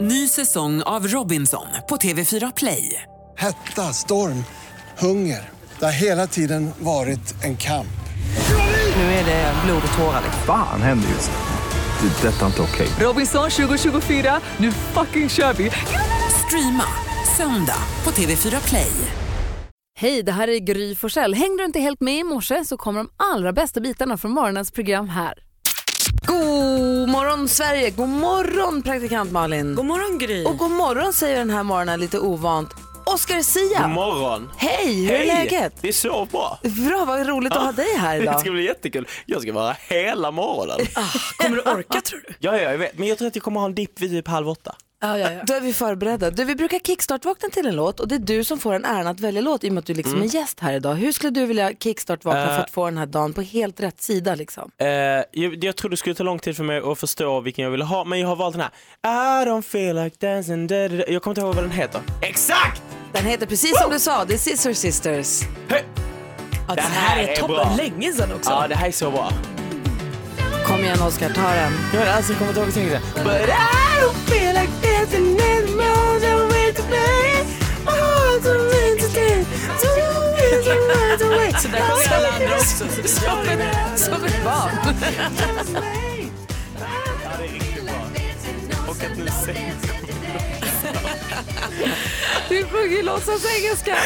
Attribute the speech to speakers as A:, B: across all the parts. A: Ny säsong av Robinson på TV4 Play.
B: Hetta, storm, hunger. Det har hela tiden varit en kamp.
A: Nu är det blod och tårar.
C: Fan händer just nu. Det. är Detta är inte okej.
A: Robinson 2024, nu fucking kör vi! Streama söndag på TV4 Play.
D: Hej, det här är Gry Forssell. Hängde du inte helt med i morse så kommer de allra bästa bitarna från morgonens program här.
E: God morgon Sverige, god morgon praktikant Malin.
F: God morgon Gry.
E: Och god morgon säger den här morgonen lite ovant. Oskar Sia.
G: God morgon.
E: Hej, hur är läget?
G: Det är så bra.
E: Bra, vad roligt att ha dig här
G: Det ska
E: idag.
G: bli jättekul. Jag ska vara här hela morgonen.
F: Kommer du orka tror du?
G: ja, ja, jag vet. Men jag tror att jag kommer ha en dipp vid typ halv åtta.
F: Ja, ja, ja.
E: Då är vi förberedda. Du, vi brukar kickstart-vakna till en låt och det är du som får en äran att välja låt i och med att du liksom är gäst här idag. Hur skulle du vilja kickstart-vakna för att få den här dagen på helt rätt sida liksom?
G: Eh, jag, jag trodde det skulle ta lång tid för mig att förstå vilken jag ville ha, men jag har valt den här. I don't feel like dancing. da, da, da. Jag kommer inte ihåg vad den heter. Exakt!
E: Den heter precis som du sa, det är Scissor Sisters.
G: Hej!
F: Ja,
G: Det
F: den här
G: här
F: är
G: är
F: toppen,
G: bra.
F: länge sedan också.
G: Ja, det här är så bra.
E: Kom igen Oskar, ta den.
G: Jag har alltså kommit ihåg texten. But I don't feel like dancing anymore. Don't wait to play. My heart's a mean to stay. Don't wait to run away.
F: Så där sjunger alla andra också. Så det är bra.
E: Som ett barn.
G: Ja, det är riktigt bra. Och att nu sänks
E: Du sjunger ju låtsas-engelska.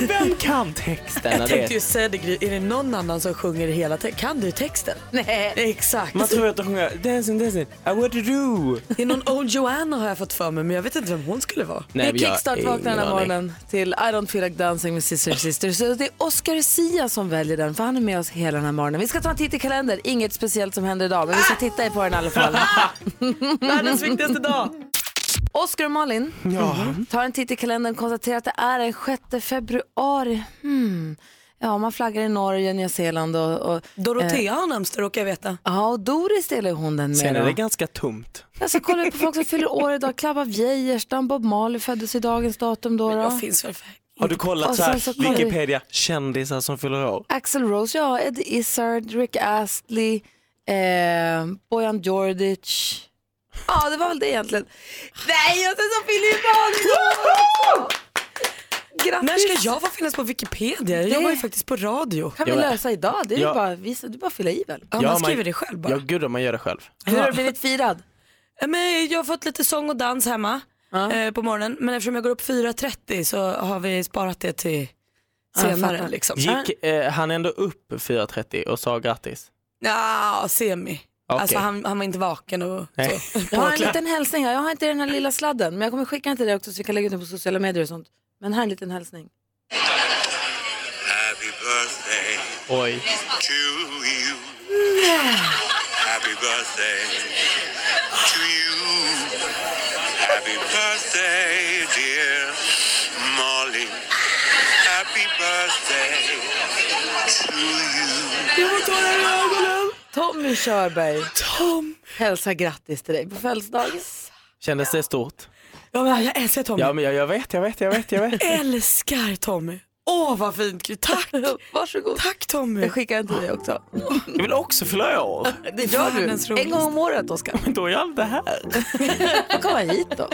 G: Vem kan texten?
F: Jag tänkte ju säga det Gry, är det någon annan som sjunger hela texten? Kan du texten?
E: Nej.
F: Exakt.
G: Man tror ju att de sjunger dancing, dancing, I want to do.
F: Det är någon old Joanna har jag fått för mig men jag vet inte vem hon skulle vara.
G: Nej,
E: det är kickstart vaknar den här morgonen till I don't feel like dancing med Sister Sisters. Så det är Oscar Sia som väljer den för han är med oss hela den här morgonen. Vi ska ta en titt i kalendern. Inget speciellt som händer idag men vi ska titta på den i alla fall.
F: Världens viktigaste dag.
E: Oscar och Malin tar en titt i kalendern och konstaterar att det är den 6 februari. Hmm. Ja, man flaggar i Norge, Nya Zeeland och... och
F: Dorotea har namnsdag råkar jag veta.
E: ja, och Doris delar ju hon den med.
G: Sen är
E: då.
G: det ganska tomt.
E: Jag ska kolla upp på folk som fyller år idag. Klabba Geijerstam, Bob Marley föddes i dagens datum då. då.
F: Jag finns väl för...
G: Har du
E: Och
G: kollat så
E: sen
G: här,
E: så kollar vi-
G: Wikipedia, kändisar som fyller år?
E: Axel Rose, ja, Ed Izzard, Rick Astley, eh, Bojan Djordjic. Ja, det var väl det egentligen. Nej, och sen så fyller ju barn
F: När
E: Grattis!
F: ska jag få finnas på Wikipedia? Jag
E: Det-
F: jobbar ju faktiskt på radio.
E: kan vi
G: Jag-
E: lösa idag? Det är ju
G: Jag-
E: bara, visa, du bara att fylla i väl?
F: Ja, man skriver det själv bara.
G: Ja, gud om man gör det själv.
E: Hur har du blivit firad?
F: Ja, Men jag har fått lite sång och dans hemma eh, på morgonen. Men eftersom jag går upp 4.30 så har vi sparat det till senare.
E: fattar.
F: liksom.
G: Gick eh, han ändå upp 4.30 och sa grattis?
F: Ja, semi. Alltså han, han var inte vaken och
G: Nej.
F: så.
E: Jag har en liten hälsning här. Jag har inte den här lilla sladden, men jag kommer skicka den till dig också så vi kan lägga ut den på sociala medier och sånt. Men här är en liten hälsning.
H: Happy birthday
G: Oj.
H: to you. Happy birthday to you. Happy birthday, dear Molly. Happy birthday to you.
E: Tommy Körberg. Tom! Hälsa grattis till dig på födelsedagen.
G: Kändes det stort?
F: Ja, men jag älskar Tommy.
G: Ja, men jag, jag vet, jag vet, jag vet, jag vet.
F: Älskar Tommy. Åh vad fint Gry. Tack.
E: Varsågod.
F: Tack Tommy.
E: Jag skickar den till dig också.
G: Jag vill också fylla år.
E: Det gör
F: Världens
E: du. En
F: roligaste.
E: gång om året, Oskar.
G: Då är allt det här.
E: Komma hit då.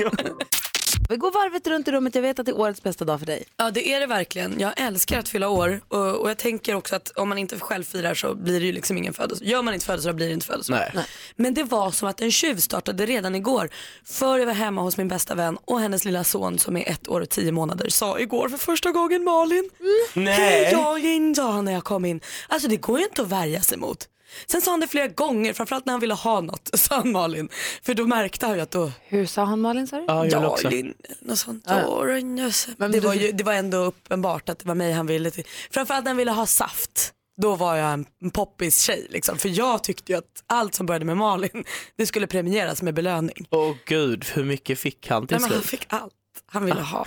E: Vi går varvet runt i rummet. Jag vet att det är årets bästa dag för dig.
F: Ja det är det verkligen. Jag älskar att fylla år och, och jag tänker också att om man inte själv firar så blir det ju liksom ingen födelsedag. Gör man inte födelsedag blir det inte födelsedag.
G: Nej. Nej.
F: Men det var som att en tjuv startade redan igår. För jag var hemma hos min bästa vän och hennes lilla son som är ett år och tio månader sa igår för första gången Malin. Hej
G: Nej.
F: dagen sa han när jag kom in. Alltså det går ju inte att värja sig mot. Sen sa han det flera gånger, framförallt när han ville ha något, sa han Malin. För då märkte han ju att då,
E: Hur sa han Malin? Sa du?
G: Ja, jag vill också.
F: Dalin, något sånt. Darin, jösse. det,
E: du-
F: var ju, det var ändå uppenbart att det var mig han ville till. Framförallt när han ville ha saft. Då var jag en poppis tjej liksom. För jag tyckte ju att allt som började med Malin, det skulle premieras med belöning.
G: Åh gud, hur mycket fick han till
F: Nej, men han
G: slut?
F: fick allt han ville ha.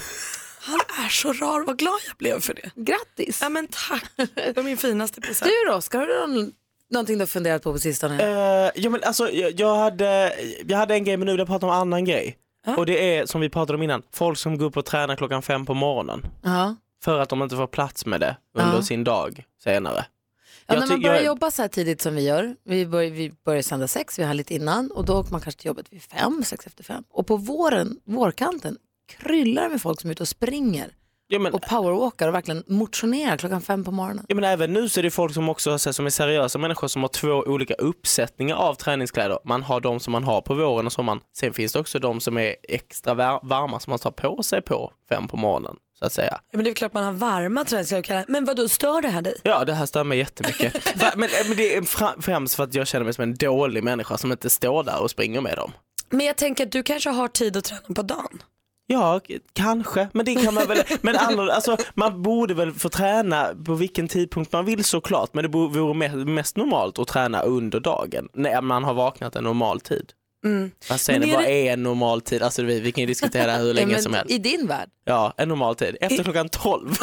F: Han är så rar, vad glad jag blev för det.
E: Grattis!
F: Ja men tack, det var min finaste present.
E: Du då, Oskar? Har du någon, någonting du har funderat på på sistone?
G: Eh, ja, men alltså, jag, jag, hade, jag hade en grej men nu vill jag prata om en annan grej. Och det är som vi pratade om innan, folk som går upp och tränar klockan fem på morgonen.
E: Ja.
G: För att de inte får plats med det under sin dag senare.
E: Ja,
G: Jag
E: när man
G: ty-
E: börjar
G: jag-
E: jobba så här tidigt som vi gör, vi, bör, vi börjar sända sex, vi har lite innan och då åker man kanske till jobbet vid fem, sex efter fem. Och på våren, vårkanten, kryllar det med folk som är ute och springer
G: Ja, men,
E: och powerwalkar och verkligen motionerar klockan fem på morgonen.
G: ja, men även nu så är det folk som också så här, som är seriösa människor som har två olika uppsättningar av träningskläder. Man har de som man har på våren och sommaren. Sen finns det också de som är extra var- varma som man tar på sig på fem på morgonen. Så att säga.
F: Ja, men det är klart man har varma träningskläder. Men vad då stör det här dig?
G: Ja, det här stör mig jättemycket. Fa- men, men det är fra- främst för att jag känner mig som en dålig människa som inte står där och springer med dem.
F: Men jag tänker att du kanske har tid att träna på dagen.
G: Ja, k- kanske. Men det kan man väl, men andra, alltså, man borde väl få träna på vilken tidpunkt man vill såklart. Men det bo- vore me- mest normalt att träna under dagen, när man har vaknat en normal tid.
E: Mm.
G: Vad säger
F: Men
G: ni,
F: är
G: vad
F: det-
G: är en normal tid? Alltså vi, vi kan ju diskutera det här hur
E: Ja,
G: länge
E: men
G: som helst.
E: I din värld.
G: Ja, en normal tid. Efter klockan 12.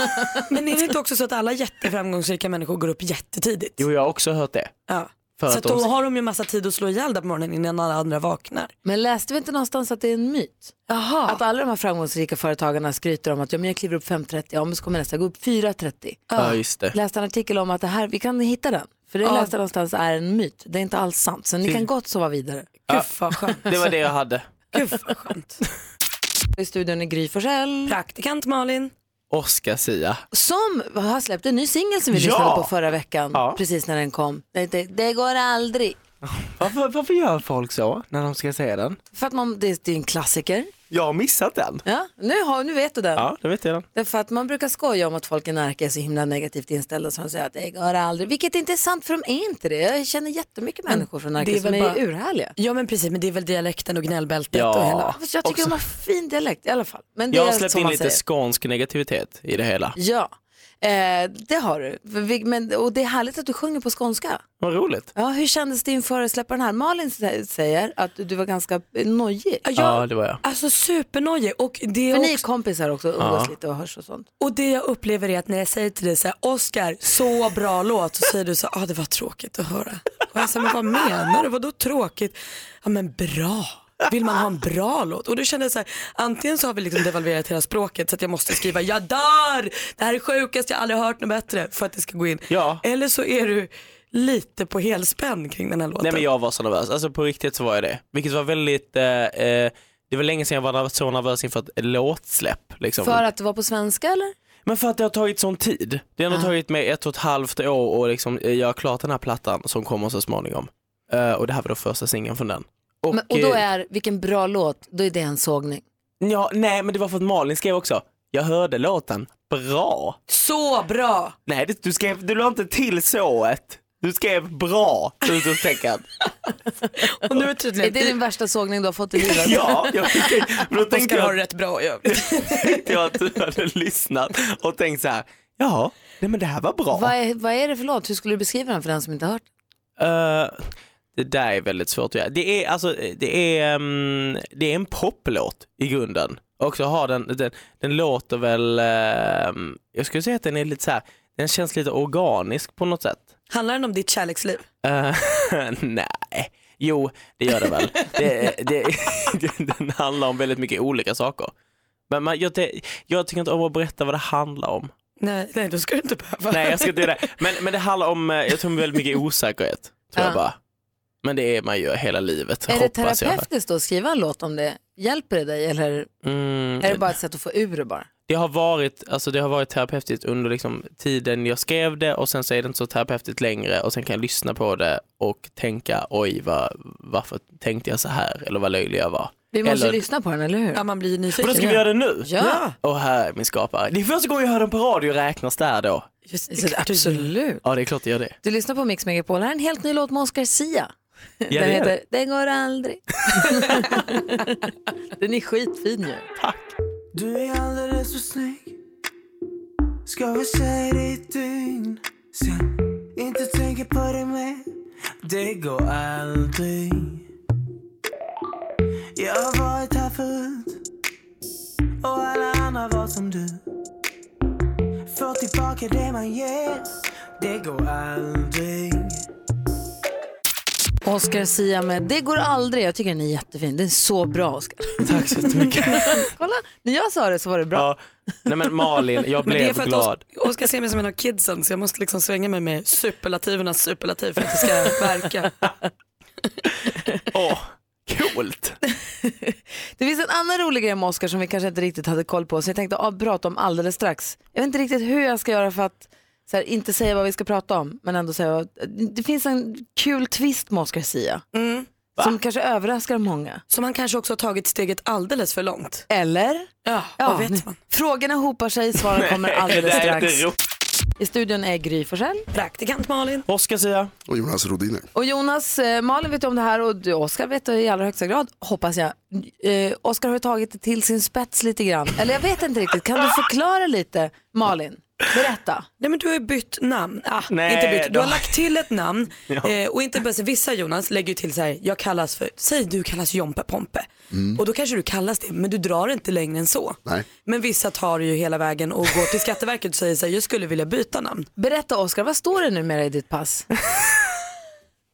F: Men är det inte också så att alla jätteframgångsrika människor går upp jättetidigt?
G: Jo, jag har också hört det.
F: Ja.
G: För
F: Så
G: att
F: att då
G: de-
F: har de ju massa tid att slå ihjäl där på morgonen innan alla andra vaknar.
E: Men läste vi inte någonstans att det är en myt?
F: Jaha.
E: Att alla de här framgångsrika företagarna skryter om att ja, men jag kliver upp 5.30, ja men så kommer nästa gå upp 4.30.
G: Ja, just det.
E: läste en artikel om att det här, vi kan hitta den. För det
F: Ja.
E: läste jag någonstans är en myt. Det är inte alls sant. Så ni kan gott sova vidare.
F: Gud vad skönt.
G: Det var det jag hade.
F: Gud vad skönt.
E: I studion är Gry Forssell.
F: Praktikant Malin.
G: Oskar Sia.
E: Som har släppt en ny singel som vi
G: Ja!
E: lyssnade på förra veckan.
G: Ja.
E: Precis när den kom. Det, det, det går aldrig.
G: Varför, varför gör folk så när de ska se den?
E: För att man, det, det är en klassiker.
G: Jag har missat den.
E: Ja, nu, har, nu vet du den.
G: Ja, det vet jag den.
E: Därför att man brukar skoja om att folk i Närke är så himla negativt inställda så de säger att det går aldrig. Vilket inte är sant för de är inte det. Jag känner jättemycket människor från
F: det
E: Närke
F: är
E: som är
F: väl bara-
E: urhärliga.
F: Ja men precis, men det är väl dialekten och gnällbältet
G: Ja.
F: och hela.
E: Fast jag tycker
G: Också-
E: de har fin dialekt i alla fall. Men det
G: Jag har
E: är
G: släppt
E: som
G: in
E: man
G: lite
E: säger.
G: skånsk negativitet i det hela.
E: Ja, eh, det har du. För vi- Men, och det är härligt att du sjunger på skånska.
G: Vad roligt.
E: Ja, hur kändes det inför att släppa den här? Malin sä- säger att du var ganska nojig.
F: Ja,
G: Ja, det var jag.
F: Alltså supernojig och det,
E: För
F: är
E: ni är
F: också,
E: kompisar också och umgås lite och hörs och sånt.
F: och det jag upplever är att när jag säger till dig så här, Oscar, så bra låt, så säger du så här, ah, det var tråkigt att höra. Och jag säger, men vad menar du, vadå tråkigt? Ja men bra, vill man ha en bra låt? Och då kände jag så här, antingen så har vi liksom devalverat hela språket så att jag måste skriva, jag dör, det här är sjukast, jag har aldrig hört något bättre för att det ska gå in.
G: Ja.
F: Eller så är du lite på helspänn kring den här låten.
G: Nej men jag var så nervös, alltså på riktigt så var jag det. Vilket var väldigt, eh, eh, det var länge sedan jag var nervös- så nervös inför ett låtsläpp. Liksom.
E: För att det var på svenska eller?
G: Men för att det har tagit sån tid. Det har nog tagit mig ett och ett halvt år att liksom eh, göra klart den här plattan som kommer så småningom. Eh, och det här var då första singeln från den. Och,
E: Men, och då
G: eh,
E: är, vilken bra låt, då är det en sågning.
G: ja, nej men det var för att Malin skrev också, jag hörde låten, bra.
F: Så bra!
G: Nej, det, du skrev, du la inte till sået. Du skrev bra, utropstecken.
F: Och nu är det tydligen,
E: Är det den värsta sågning du har fått i livet?
G: ja, jag, men då tänkte
F: Oskar har
G: jag,
F: det rätt bra i övrigt.
G: tänkte jag att du hade lyssnat och tänkt så här, jaha, nej men det här var bra.
E: Vad, är, vad är det för låt? Hur skulle du beskriva den för den som inte har hört?
G: Eh, det där är väldigt svårt att göra. Det är, alltså, det är, ehm, det är en poplåt i grunden. Och så har den, den, den låter väl, ehm, jag skulle säga att den är lite så här, den känns lite organisk på något sätt.
F: Handlar den om ditt kärleksliv?
G: Eh, nej, jo det gör det väl. det, det, den handlar om väldigt mycket olika saker. Men man, jag, det, jag tycker inte om att berätta vad det handlar om.
F: Nej, nej då ska du inte behöva.
G: Nej jag ska inte göra det. Men, men det handlar om, eh, jag tror väldigt mycket osäkerhet. Tror jag
E: Ja.
G: bara. Men det är man ju hela livet
E: Är det
G: hoppas jag.
E: terapeutiskt då att skriva en låt om det? Hjälper det dig eller
G: Mm,
E: är det bara ett sätt att få ur det bara?
G: det, har varit, alltså det har varit terapeutiskt under liksom tiden jag skrev det och sen så är det inte så terapeutiskt längre och sen kan jag lyssna på det och tänka oj vad, varför tänkte jag så här eller vad löjlig jag var.
E: Vi måste
G: Eller-
E: lyssna på den, eller hur?
F: Ja, man blir ju
G: Men
F: nyfiken.
G: då ska vi göra det nu?
E: Ja.
G: Och här är min skapare. Det är första gången jag hör den på radio räknas där då.
F: Just,
E: Så, Alltså, absolut.
G: Ja det är klart jag gör det.
E: Du lyssnar på Mix Megapol. Här är en helt ny låt med Oscar Sia.
G: Ja,
E: Den
G: det är
E: heter
G: det.
E: Den går aldrig. Den är skitfin ju.
I: Du är alldeles för snygg Ska vara kär i ett dygn Sen inte tänka på dig mer Det går aldrig Jag har varit här förut Och alla andra var som du Får tillbaka det man ger Det går aldrig
E: Oscar Sia med Det går aldrig. Jag tycker den är jättefin. Den är så bra Oscar.
G: Tack så jättemycket.
E: Kolla, när jag sa det så var det bra.
G: Ja. Nej men Malin, jag
F: Men det är
G: blev
F: för att
G: glad.
F: Os- Oskar ser mig som en av kidsen så jag måste liksom svänga mig med superlativernas superlativ för att det ska verka.
G: Åh, coolt.
E: Det finns en annan rolig grej med Oscar som vi kanske inte riktigt hade koll på så jag tänkte ah, prata om alldeles strax. Jag vet inte riktigt hur jag ska göra för att så här, inte säga vad vi ska prata om men ändå säga vad... Det finns en kul twist med Oscar Sia
G: Mm.
E: som kanske överraskar många.
F: Så man kanske också har tagit steget alldeles för långt.
E: Eller?
F: Ja, vad vet man?
E: Frågorna hopar sig, svaren kommer alldeles
G: Det här är
E: strax.
G: inte roligt.
E: I studion är Gry Forssell.
F: Praktikant Malin.
G: Oskar Sia,
J: Och Jonas Rodiner.
E: Och Jonas, eh, Malin vet om det här och du, Oskar vet det i allra högsta grad, hoppas jag. Eh, Oskar har tagit det till sin spets lite grann. Eller jag vet inte riktigt, kan du förklara lite? Malin, berätta.
F: Nej men du har ju bytt namn. Ah,
G: Nej,
F: inte bytt. Du har
G: då-
F: lagt till ett namn. eh, och inte bara så, vissa Jonas lägger ju till så här, jag kallas för, säg du kallas Jompe Pompe. Och då kanske du kallas det, men du drar inte längre än så.
J: Nej.
F: Men vissa tar ju hela vägen och går till Skatteverket och säger så här, jag skulle vilja byta namn.
E: Berätta Oskar, vad står det numera i ditt pass?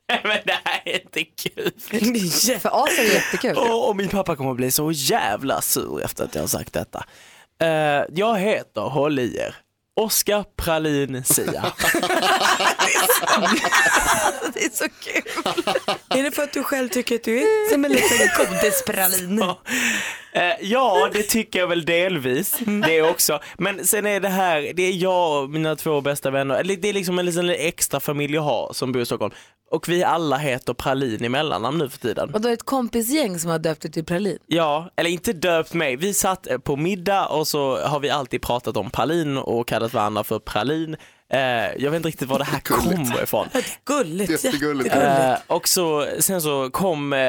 G: Nej men det här är inte kul.
F: Det är jätte-
E: För As är jättekul.
G: Åh, och min pappa kommer bli så jävla sur efter att jag har sagt detta. Eh, jag heter, håll i er, Oskar Pralin Sia.
E: Det är så kul.
F: Är det för att du själv tycker att du är som en liten godispralin?
G: Eh, ja, det tycker jag väl delvis. Det också. Men sen är det här, det är jag och mina två bästa vänner, eller det är liksom en liten extra familj jag har som bor i Stockholm. Och vi alla heter Pralin i mellannamn nu för tiden.
E: Och då är det ett kompisgäng som har döpt det till Pralin.
G: Ja, eller inte döpt mig. Vi satt eh, på middag och så har vi alltid pratat om pralin och kallat varandra för pralin. Eh, jag vet inte riktigt var det här kommer ifrån.
F: Gulligt,
J: Jättegulligt.
G: Eh, och så, sen så kom eh,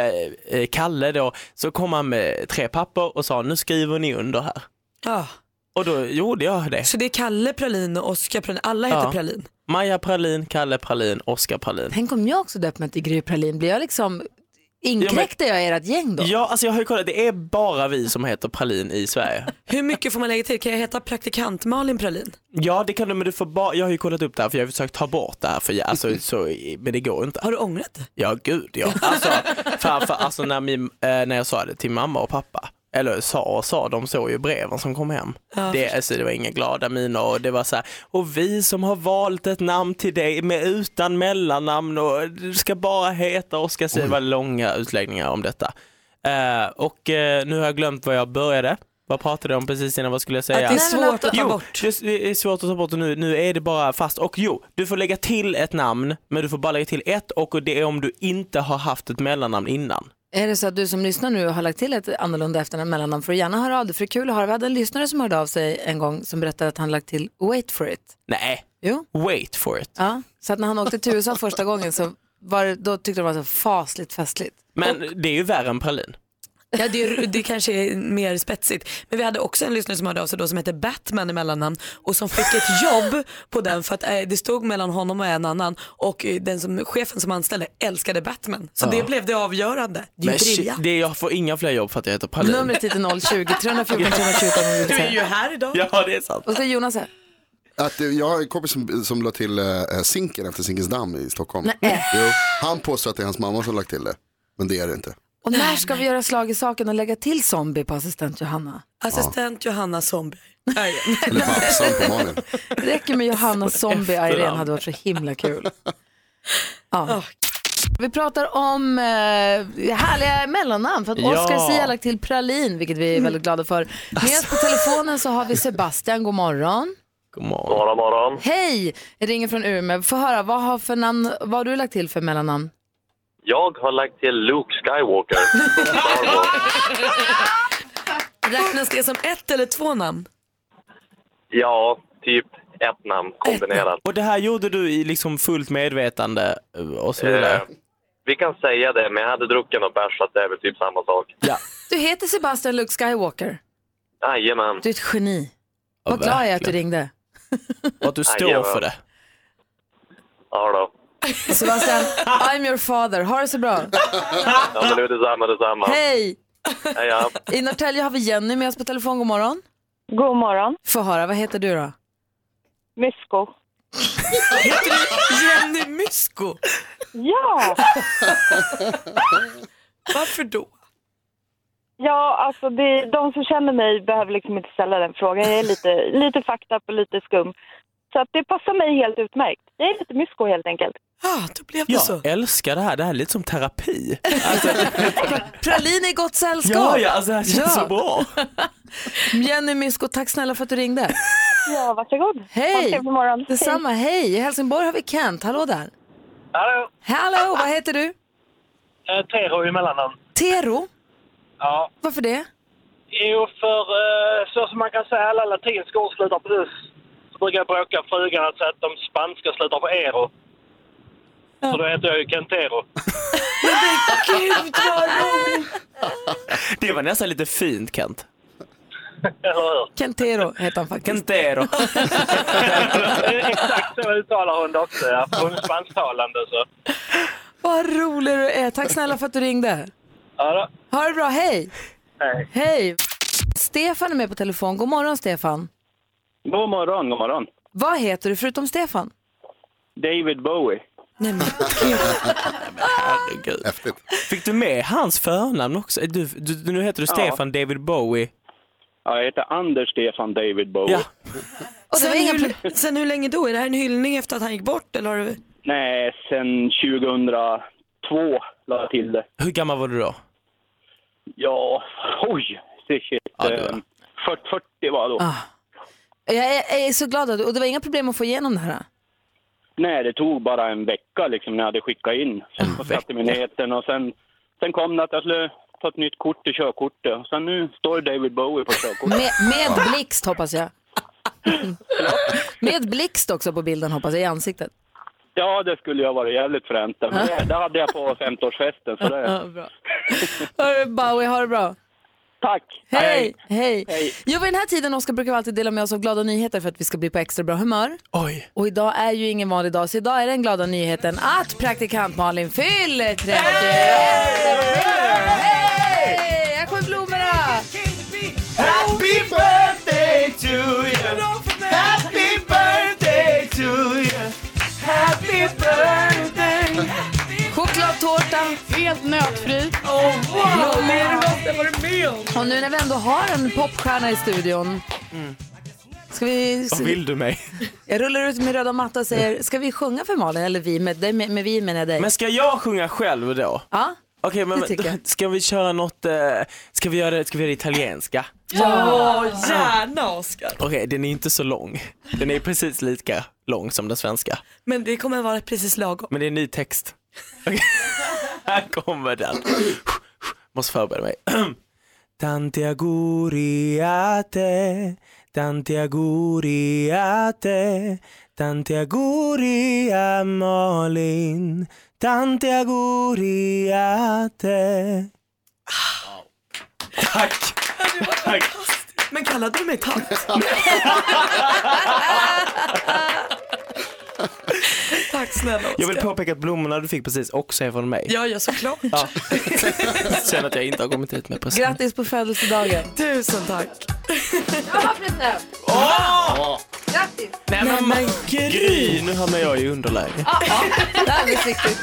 G: eh, Kalle då, så kom han med tre papper och sa nu skriver ni under här.
F: Ja.
G: Och då gjorde jag det.
F: Så det är Kalle Pralin och Oskar Pralin, alla heter
G: Ja.
F: Pralin.
G: Maja Pralin, Kalle Pralin, Oskar Pralin.
E: Tänk om jag också döpt mig till Gry Pralin, blir jag liksom, inkräktar jag ert gäng då?
G: Ja, alltså jag har ju kollat, det är bara vi som heter Pralin i Sverige.
F: Hur mycket får man lägga till? Kan jag heta praktikant Malin Pralin?
G: Ja, det kan du, men du får bara, jag har ju kollat upp det här för jag har försökt ta bort det här, för jag, alltså, så, men det går inte.
F: Har du ångrat det?
G: Ja, gud ja. Alltså, farfar, alltså när, min, eh, när jag sa det till mamma och pappa, eller sa och sa, de såg ju breven som kom hem. det, alltså, det var inga glada miner och det var så här, och vi som har valt ett namn till dig med utan mellannamn och du ska bara heta Oskar Sia. Det var långa utläggningar om detta. Eh, och eh, nu har jag glömt vad jag började. Vad pratade jag om precis innan, vad skulle jag säga?
F: Att det är svårt att ta
G: alltså- Jo,
F: bort.
G: det- det är svårt att ta bort det nu. Nu är det bara fast. Och jo, du får lägga till ett namn, men du får bara lägga till ett och det är om du inte har haft ett mellannamn innan.
E: Är det så att du som lyssnar nu har lagt till ett annorlunda efternamn mellannamn får du gärna höra av dig, för det är kul att höra. Vi hade en lyssnare som hörde av sig en gång som berättade att han lagt till wait for it.
G: Nej,
E: Jo.
G: wait for it.
E: Ja. Så att när han åkte till USA första gången så var det, då tyckte de det var så fasligt festligt.
G: Men det är ju värre än pralin.
F: Ja, det, är, det kanske är mer spetsigt. Men vi hade också en lyssnare som hörde av sig då som hette Batman i mellannamn och som fick ett jobb på den för att eh, det stod mellan honom och en annan och eh, den som, chefen som anställde älskade Batman. Så det blev det avgörande. Det är
G: Men
F: ju
G: shit,
F: briljant.
G: det är, jag får inga fler jobb för att jag heter pralin.
E: Numret hit är 020 314 314 om du vill
F: Du är ju
E: säga.
F: här idag.
G: Ja, det är sant.
E: Och så är Jonas här.
J: Att, eh, jag har en kompis som, som la till eh, Zinken efter Zinkensdamm i Stockholm.
E: Nej.
J: Jo, han påstår att det är hans mamma som lagt till det. Men det är det inte.
E: Och när ska vi göra slag i saken och lägga till zombie på assistent Johanna?
F: Assistent Johanna Zombie.
J: Eller Babsan på Malin.
E: Det räcker med Johanna Zombie och Irene
G: efternamn.
E: hade varit så himla kul. Ja. Vi pratar om eh, härliga mellannamn för att
G: Ja. Mm.
E: Oscar Zia har lagt till pralin vilket vi är väldigt glada för. Med oss på
G: Alltså.
E: telefonen så har vi Sebastian, god morgon.
G: God morgon.
E: Hej, jag ringer från Umeå. Få höra, vad har, för namn, vad har du lagt till för mellannamn?
K: Jag har lagt till Luke Skywalker. Star Wars.
F: Räknas det som ett eller två namn?
K: ja, typ ett namn kombinerat.
G: Och det här gjorde du i liksom fullt medvetande eh, och så vidare.
K: Eh, vi kan säga det, men jag hade druckit någon bärs så att det är väl typ samma sak.
G: Ja.
E: Du heter Sebastian Luke Skywalker.
K: Jajamän.
E: Du är ett geni. Vad
G: Ja,
E: glad jag är att du
G: verkligen.
E: ringde.
G: Och att du står
K: Jajamän.
G: för det.
K: Ja, då.
E: Sebastian, I'm your father. Ha det så bra.
K: ja men nu är detsamma, detsamma.
E: Hej!
K: Hej, ja.
E: I Norrtälje har vi Jenny med oss på telefon. God morgon.
L: God morgon.
E: Få höra, vad heter du då?
L: Mysko.
F: Jenny Mysko.
L: Ja!
F: Varför då?
L: Ja, alltså det, de som känner mig behöver liksom inte ställa den frågan. Jag är lite, lite fucked up och lite skum. Så att det passar mig helt utmärkt. Jag är lite mysko helt enkelt.
G: Jag älskar det här, det här är lite som terapi. Alltså,
E: Pralin i gott sällskap.
G: Ja, ja, alltså det här känns
E: Ja.
G: så bra.
E: Jenny Mysko, tack snälla för att du ringde.
L: Ja, varsågod. Ha en
E: Hej!
L: trevlig morgon.
E: Detsamma, hej. I Helsingborg har vi Kent, hallå där.
M: Hallå.
E: Hallå, vad heter du?
M: Eh, Tero i mellannamn.
E: Tero,
M: Ja.
E: varför det?
M: Jo, för eh, så som man kan säga alla latinska ord slutar på us. Så brukar jag bråka frugan att säga att de spanska slutar på ero. Så då heter jag ju Kentero.
F: Men gud vad roligt!
G: Det var nästan lite fint Kent.
E: Kentero heter han faktiskt.
G: Kentero.
M: Exakt så uttalar hon det också. Ja. Hon är spansktalande så.
E: Vad rolig du är, tack snälla för att du ringde.
M: Ja, då.
E: Ha det bra, hej.
M: Hej.
E: Hej. Stefan är med på telefon, god morgon Stefan.
N: God morgon, god morgon.
E: Vad heter du förutom Stefan?
N: David Bowie.
E: Nej, men.
G: Herregud. Fick du med hans förnamn också? Du, du, nu heter du
N: Ja.
G: Stefan David Bowie.
N: Ja, jag heter Anders Stefan David Bowie.
J: Oh.
G: Ja.
F: sen, hur, sen hur länge då? Är det här en hyllning efter att han gick bort? Eller har du...
N: Nej, sen 2002 la jag till det.
G: Hur gammal var du då?
N: Ja, oj, det shit. eh, 40, 40 var jag då.
E: Jag är, jag är så glad att du, och det var inga problem att få igenom det här.
N: Nej, det tog bara en vecka liksom när jag hade skickat in. Sen på skattemyndigheten och sen, sen kom det att jag skulle ta ett nytt kort i körkortet. Och Sen nu står det David Bowie på körkortet.
E: Med, med blixt hoppas jag. med blixt också på bilden hoppas jag, i ansiktet.
N: Ja, det skulle jag vara jävligt fränt. Men det, det hade jag på 50-årsfesten. Så
E: Ja,
N: det...
E: bra. Hörru, Bowie, ha det bra.
N: Tack.
E: Hej, hej.
N: Hej.
E: Jo, vid den här tiden, Oskar, brukar vi alltid dela med oss av glada nyheter för att vi ska bli på extra bra humör.
G: Oj.
E: Och idag är ju ingen vanlig dag, så idag är den glada nyheten att praktikant Malin fyller 30! Hej! Här kommer blommorna!
H: Happy birthday to you! Happy birthday to you! Happy birthday!
E: Chokladtårta. Helt nötfri.
H: wow.
E: Blommor. Och nu när vi ändå har en popstjärna i studion, ska vi...
G: Vad vill du mig?
E: Jag rullar ut min röda matta och säger, ska vi sjunga för Malin? Eller vi, med, dig- med, med vi menar jag dig.
G: Men ska jag sjunga själv då?
E: Ja.
G: Okej, men
E: Det tycker jag.
G: ska vi köra något, eh, ska vi göra, ska vi göra det italienska?
F: Ja, gärna Oskar.
G: Okej, den är inte så lång. Den är precis lika lång som den svenska.
F: Men det kommer vara precis lagom.
G: Men det är ny text. Okej. Här kommer den. Måste förbereda mig. Tanti auguri a te, tanti auguri a te, tanti auguri a Malin, tanti auguri a te. Tack! Tack!
F: Men kallade du mig tant? Tack snälla Oskar.
G: Jag vill påpeka att blommorna du fick precis också är från mig.
F: Ja, ja såklart.
G: Ja. Känner att jag inte har kommit hit med present.
E: Grattis på födelsedagen.
F: Tusen tack.
E: Jag har present!
G: Åh!
E: Grattis!
G: Nej men,
E: men
G: Gry! Nu hamnar jag i underläge.
E: Ja, ja. Det här är riktigt.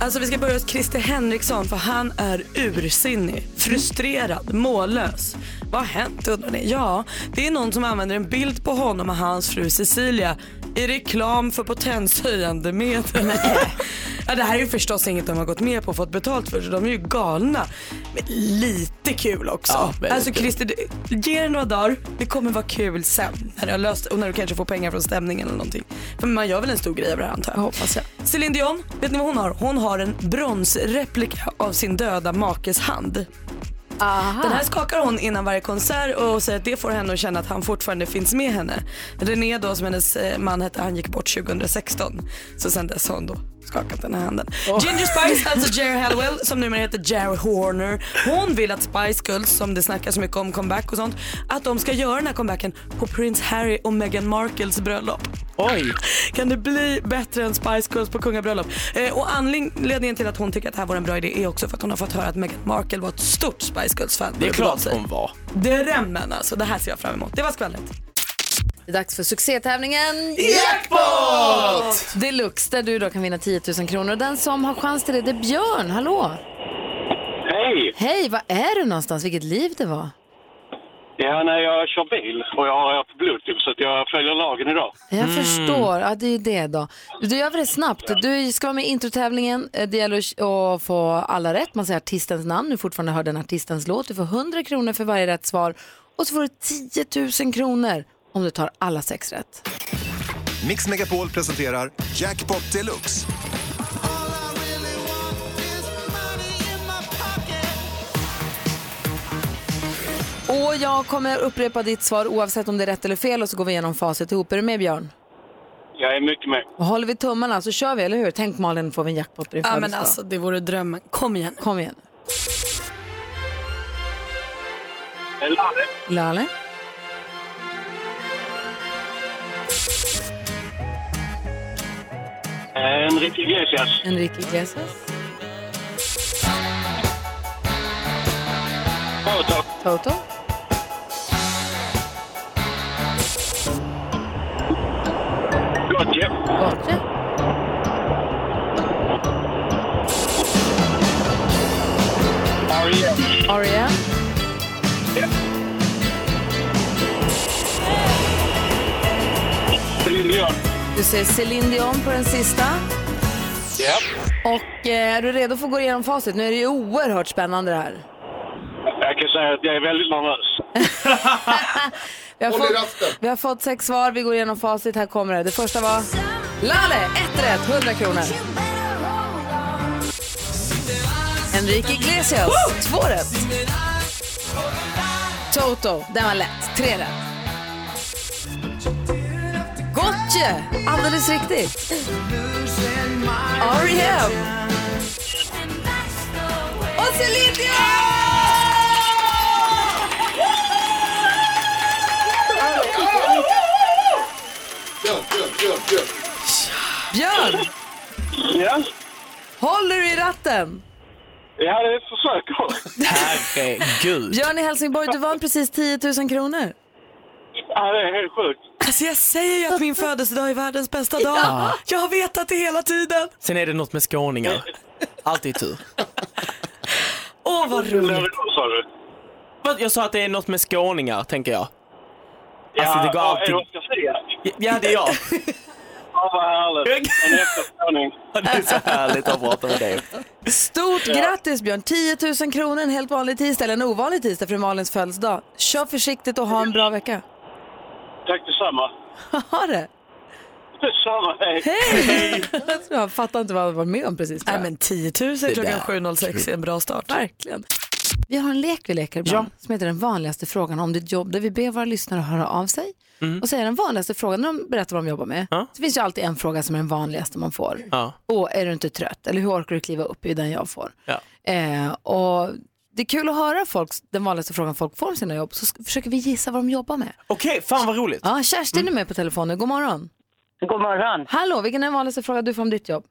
F: Alltså vi ska börja hos Christer Henriksson för han är ursinnig, frustrerad, mållös. Vad har hänt undrar ni? Ja, det är någon som använder en bild på honom och hans fru Cecilia i reklam för potenshöjande medel. ja, det här är ju förstås inget de har gått med på och fått betalt för så de är ju galna. Men lite kul också.
G: Ja, väldigt
F: alltså
G: kul.
F: Christer, det- ge det några dagar. Det kommer vara kul sen när det har löst och när du kanske får pengar från stämningen eller någonting. För man gör väl en stor grej av det här antar jag. Hoppas jag. Céline Dion, vet ni vad hon har? Hon har en bronsreplika av sin döda makes hand. Den här skakar hon innan varje konsert och säger att det får henne att känna att han fortfarande finns med henne. René då som hennes eh, man hette, han gick bort 2016. Så sen dess har hon då skakat den här handen. Ginger Spice, alltså Jerry Halliwell som numera heter Jerry Horner. Hon vill att Spice Girls, som det snackas så mycket om comeback och sånt, att de ska göra den här comebacken på Prince Harry och Meghan Markles bröllop.
G: Oj!
F: Kan det bli bättre än Spice Girls på kungabröllop? Eh, och anledningen till att hon tycker att det här var en bra idé är också för att hon har fått höra att Meghan Markle var ett stort Spice Girls-fan.
G: Det är
F: Det var
G: klart hon var.
F: Drömmen alltså, det här ser jag fram emot. Det var skvallret.
D: Det är dags för succétävlingen
E: Jackpot! Deluxe där du då kan vinna 10 000 kronor. Den som har chans till det, det är Björn. Hallå!
M: Hej!
E: Hej, var är du någonstans? Vilket liv det var.
M: Ja, nej, jag kör bil och jag har på blodtryck så att jag följer lagen idag.
E: Jag förstår. Ja, det är ju det då. Du gör det snabbt. Du ska vara med i introtävlingen. Eh, Det gäller att- att få alla rätt. Man säger artistens namn. Du fortfarande hör den artistens låt. Du får 100 kronor för varje rätt svar. Och så får du 10 000 kronor om du tar alla sex rätt.
O: Mix Megapol presenterar Jackpot Deluxe.
E: Och jag kommer upprepa ditt svar oavsett om det är rätt eller fel och så går vi igenom facit ihop. Är du med Björn?
M: Jag är mycket med.
E: Och håller vi tummarna så kör vi, eller hur? Tänk Malin, får vi en jackpot på din
F: Ja men
E: födelsedag.
F: alltså det vore drömmen. Kom igen.
E: Kom igen.
M: Laleh.
E: Lale?
M: Enrique Iglesias.
E: Enrique Iglesias?
M: Toto.
E: Toto?
M: Gotye.
E: Gotye.
M: Aria.
E: Aria?
M: Céline Dion.
E: Du ser Céline Dion på den sista.
M: Ja.
E: Och eh, är du redo för att gå igenom facit? Nu är det ju oerhört spännande det här.
M: Jag kan säga att jag är väldigt nervös.
E: Vi har,
M: Håll i
E: fått, vi har fått sex svar, vi går igenom facit. Här kommer det. Det första var Lale, ett rätt, 100 kronor. Enrique Iglesias, två rätt. Toto, den var lätt, tre rätt. Gotye, alldeles riktigt. R.E.M. Och Céline
J: Björn, Björn, Björn, Björn.
E: Björn,
M: Ja,
E: håller du i ratten?
M: ja det försöker jag.
G: Herregud.
E: Björn i Helsingborg, du vann precis 10 000 kronor.
M: Ja, det är helt sjukt.
F: Alltså jag säger ju att min födelsedag är världens bästa dag.
G: Ja.
F: Jag har vetat det hela tiden.
G: Sen är det något med skåningar. Alltid tur.
F: Åh vad roligt.
M: Vad sa du?
G: Vad, Jag sa att det är något med skåningar, tänker jag.
M: Ja,
G: Alltså, det går
M: ja,
G: alltid-
M: jag ska säga.
G: Ja, det är jag.
M: Ja, vad härligt. En efterskåning.
G: Det är så härligt att prata med dig.
E: Stort
M: Ja.
E: grattis Björn! 10 000 kronor en helt vanlig tisdag, eller en ovanlig tisdag för det är Malins födelsedag. Kör försiktigt och ha en bra vecka.
M: Tack detsamma.
E: Ha det!
M: Detsamma, hej.
E: Hej! Jag fattar inte vad jag var med om precis. Nej men
F: 10 000 klockan 7.06 är en bra start.
E: Verkligen. Vi har en lek vi leker ibland som heter den vanligaste frågan om ditt jobb där vi ber våra lyssnare höra av sig och säga den vanligaste frågan när de berättar vad de jobbar med. Så finns ju alltid en fråga som är den vanligaste man får.
G: Ja.
E: Åh, är du inte trött? Eller hur orkar du kliva upp? Det är den jag får.
G: Ja.
E: Eh, och det är kul att höra folks, den vanligaste frågan folk får om sina jobb så ska, försöker vi gissa vad de jobbar med. Mm.
G: Okej, fan vad roligt.
E: Ja, Kerstin är med på telefonen. God morgon.
P: God morgon.
E: Hallå, vilken är den vanligaste frågan du får om ditt jobb?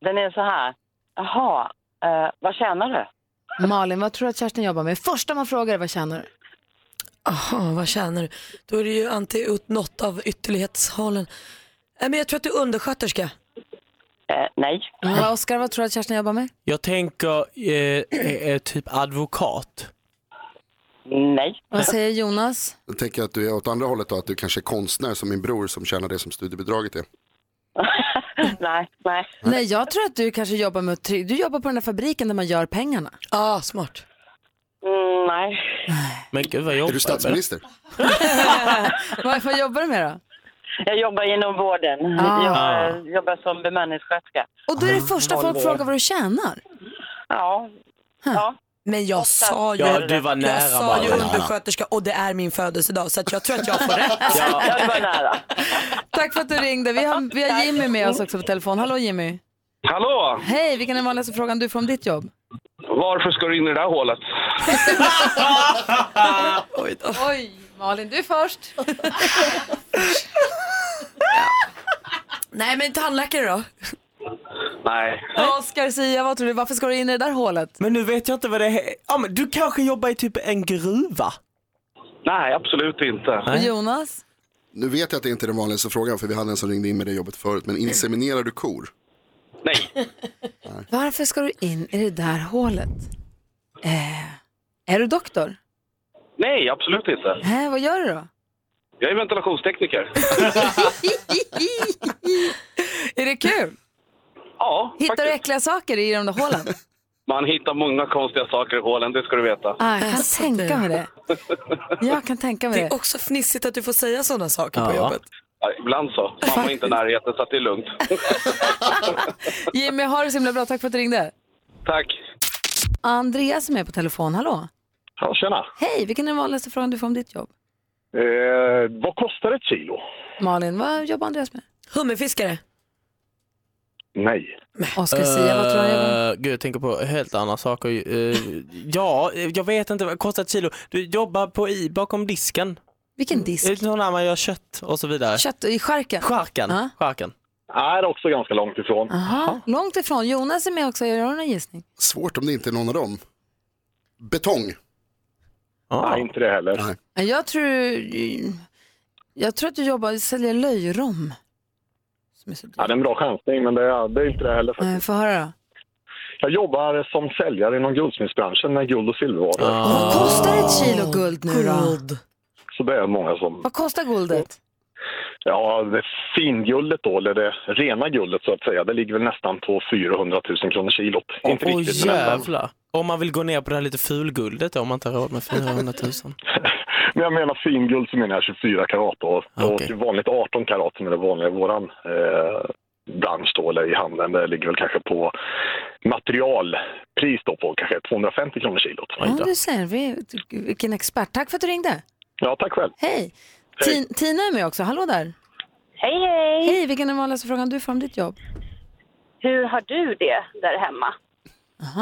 P: Den är så här. Jaha, eh, vad tjänar du?
E: Malin, vad tror du att Kerstin jobbar med? Första man frågar är vad tjänar du?
F: Aha, vad tjänar du? Då är det ju anti ut något av ytterlighetshållen. Nej men jag tror att du är undersköterska.
P: nej.
E: Ja, Oskar, Mm, vad tror du att Kerstin jobbar med?
G: Jag tänker eh, eh, eh, typ advokat.
P: Nej.
E: Vad säger Jonas?
J: Jag tänker att du är åt andra hållet då, att du kanske är konstnär som min bror som tjänar det som studiebidraget är.
P: nej, nej.
E: Nej, jag tror att du kanske jobbar med att try- Du jobbar på den där fabriken där man gör pengarna.
F: Ja, ah, smart.
P: Mm, nej.
G: Men gud vad jobbar
J: Är du statsminister?
E: vad, vad jobbar du med då?
P: Jag jobbar inom vården.
E: Ah.
P: Jag eh, jobbar som bemanningssköterska.
E: Och då är det första folk
P: Tolv år.
E: frågar vad du tjänar.
P: Ja. ja.
F: Men jag sa ju,
G: Ja, du var nära,
F: jag sa
G: Malin.
F: ju undersköterska och det är min födelsedag så att jag tror att jag får rätt.
E: Tack för att du ringde. Vi har, vi har Jimmy med oss också på telefon. Hallå Jimmy.
Q: Hallå!
E: Hej, vilken är den vanligaste frågan du får om ditt jobb?
Q: Varför ska du in i det där hålet?
E: Oj, Malin, du först.
F: Nej men tandläkare då?
Q: Nej.
E: Oskar, Sia, vad tror du? Varför ska du in i det där hålet?
G: Men nu vet jag inte vad det är. Ja, men du kanske jobbar i typ en gruva?
Q: Nej, absolut inte.
E: Jonas?
J: Nu vet jag att det inte är den vanligaste frågan för vi hade en som ringde in med det jobbet förut. Men inseminerar du kor?
E: Varför ska du in i det där hålet? Eh, är du doktor?
Q: Nej, absolut inte.
E: Nej, vad gör du då?
Q: Jag är ventilationstekniker.
E: är det kul?
Q: Ja,
E: Hittar du äckliga saker i de där hålen?
Q: Man hittar många konstiga saker i hålen, det ska du veta.
E: Ah, jag kan tänka mig det. Jag kan tänka mig
F: Det är
E: det.
F: också fnissigt att du får säga sådana saker på
Q: Ja.
F: jobbet.
Q: Ja, ibland så. Mamma är inte i närheten så att det är lugnt.
E: Jimmy, har det så himla bra. Tack för att du ringde.
Q: Tack.
E: Andreas som är på telefon, hallå.
R: Ja, tjena.
E: Hej, vilken är den vanligaste frågan du får om ditt jobb?
R: Eh, vad kostar ett kilo?
E: Malin, vad jobbar Andreas med?
F: Hummerfiskare.
R: Nej.
E: Oskar Sia, vad tror du han jobbar med?
G: Eh, Gud, jag tänker på helt andra saker. Eh, ja, eh, jag vet inte, vad kostar ett kilo? Du jobbar på i, bakom disken.
E: Vilken disk?
G: Är det sån där man gör kött och så vidare?
E: Kött i skärken?
G: Charken.
E: Ja.
G: Charken.
R: Är också ganska långt ifrån.
E: Aha. Långt ifrån. Jonas är med också. Gör du någon gissning?
J: Svårt om det inte är någon av dem. Betong.
R: Nej, inte det heller. Nej.
E: Jag tror, jag tror att du jobbar, säljer löjrom.
R: Ja, det är en bra chansning, men det är, det är inte det heller. faktiskt.
E: Eh, Få höra då.
R: Jag jobbar som säljare inom guldsmedsbranschen med guld och silvervaror.
E: Vad
G: Ah.
E: kostar ett
F: Ah,
E: kilo guld nu då?
R: Så det är många som...
E: Vad kostar guldet?
R: Ja, det finguldet då, eller det rena guldet så att säga, det ligger väl nästan på 400 000 kronor kilot. inte
G: Åh
R: riktigt, men nästan.
G: jävlar. Om man vill gå ner på det här lite fulguldet då, om man inte har råd med 400 000.
R: När jag menar finguld så menar jag 24 karat då, och vanligt 18 karat som är det vanliga i våran eh, bransch då, eller i handeln. Det ligger väl kanske på materialpris då på kanske 250 kronor kilot.
E: Ja, du ser. Vi, vilken expert. Tack för att du ringde.
R: Ja, tack själv.
E: Hej. Tin, Tina är med också. Hallå där.
S: Hej, hej.
E: Hej, vilken är den vanligaste frågan du får om ditt jobb?
S: Hur har du det där hemma?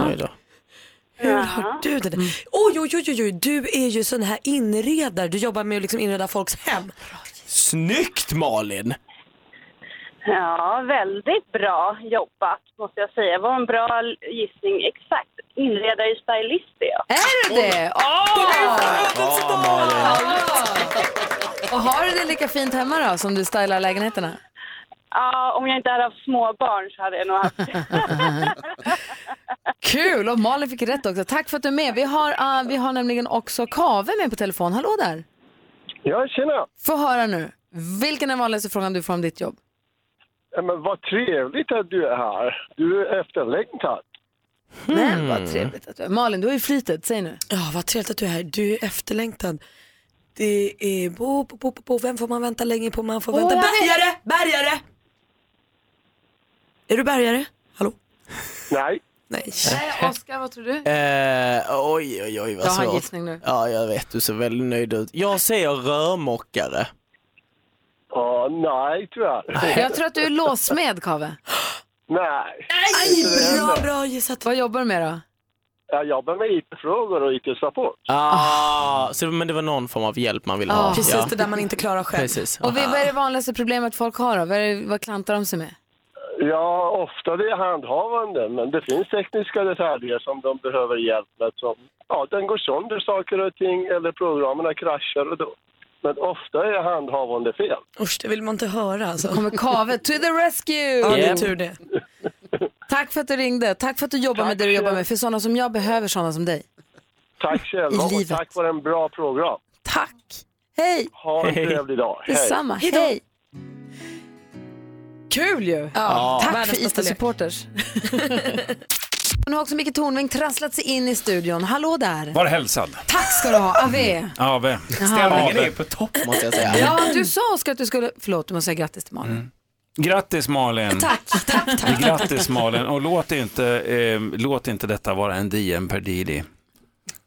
G: Nej då.
F: Hur har du det? där? Oj, oj, oj, oj, oj, du är ju sån här inredare. Du jobbar med att liksom inreda folks hem.
G: Snyggt Malin!
S: Ja, väldigt bra jobbat måste jag säga. Det var en bra l- gissning. Exakt. Inredare och stylist är jag.
E: Är du det? Ah. Ah. Och har du det lika fint hemma då, som du stylar lägenheterna?
S: Ja, om jag inte hade haft småbarn så hade jag nog haft
E: Kul! Och Malin fick rätt också. Tack för att du är med. Vi har, ah, vi har nämligen också Kave med på telefon. Hallå där!
T: Ja, tjena!
E: Få höra nu. Vilken är den vanligaste frågan du får om ditt jobb?
T: Ja, Men vad trevligt att du är här. Du är efterlängtad.
E: Men vad trevligt att du är. Malin, du har ju flitet. Säg nu.
F: Ja, vad trevligt att du är här. Du är efterlängtad. Det är bo, bo, bo, bo, bo. Vem får man vänta länge på? Man får
E: Åh,
F: vänta.
E: jag vet.
F: Bärgare! Bärgare! Är du bärgare?
R: Nej.
F: Nej.
E: Oskar, vad tror du?
G: Eh, oj, oj, oj vad
E: Jag
G: svårt.
E: har en gissning nu.
G: Ja, jag vet. Du ser väldigt nöjd ut. Jag säger rörmokare.
T: Ja, nej tyvärr.
E: Jag tror att du är låssmed, Kave.
T: Nej.
F: Nej,
T: bra,
F: bra gissat.
E: Vad jobbar du med då?
T: Jag jobbar med IT-frågor och IT-support.
G: Ah, Så, men det var någon form av hjälp man ville ha.
F: Precis,
G: Ja.
F: det där man inte klarar själv.
G: Precis.
E: Och vi- vad är det vanligaste problemet folk har då? Vad, är det, vad klantar de sig med?
T: Ja, ofta det är handhavande, men det finns tekniska detaljer som de behöver hjälp med. Som, ja, den går sönder saker och ting eller programmen kraschar och då. Men ofta är handhavande fel.
F: Usch, det vill man inte höra alltså.
E: Kommer Kave to the rescue!
F: Ja, det är tur det.
E: Tack för att du ringde. Tack för att du jobbar med det du jobbar med. För sådana som jag behöver sådana som dig.
T: Tack själva
E: I
T: och
E: livet.
T: tack för en bra program.
E: Hej!
T: Ha en
E: Hej.
T: trevlig dag. Hej.
E: Detsamma. Hej! Kul ju!
F: Ja,
E: Tack
F: världens
E: för
F: bästa lek.
E: IT-supporters. nu har också Micke Tornving trasslat sig in i studion. Hallå där!
U: Var Mm. hälsad.
E: Tack ska du ha, AV.
U: Ave.
E: Stämningen är
U: på
G: topp
U: måste jag
E: Ja, du sa Oskar att du skulle... Förlåt, du måste säga grattis till Malin.
U: Mm. Grattis Malin.
E: Tack, tack, tack.
U: Grattis Malin. Och låt inte, eh, låt inte detta vara en DM per Didi.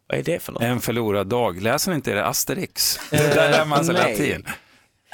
G: Vad är det för något?
U: En förlorad dag. Läser ni inte det? Asterix. Där lär man sig
F: nej.
U: latin.
F: Nej,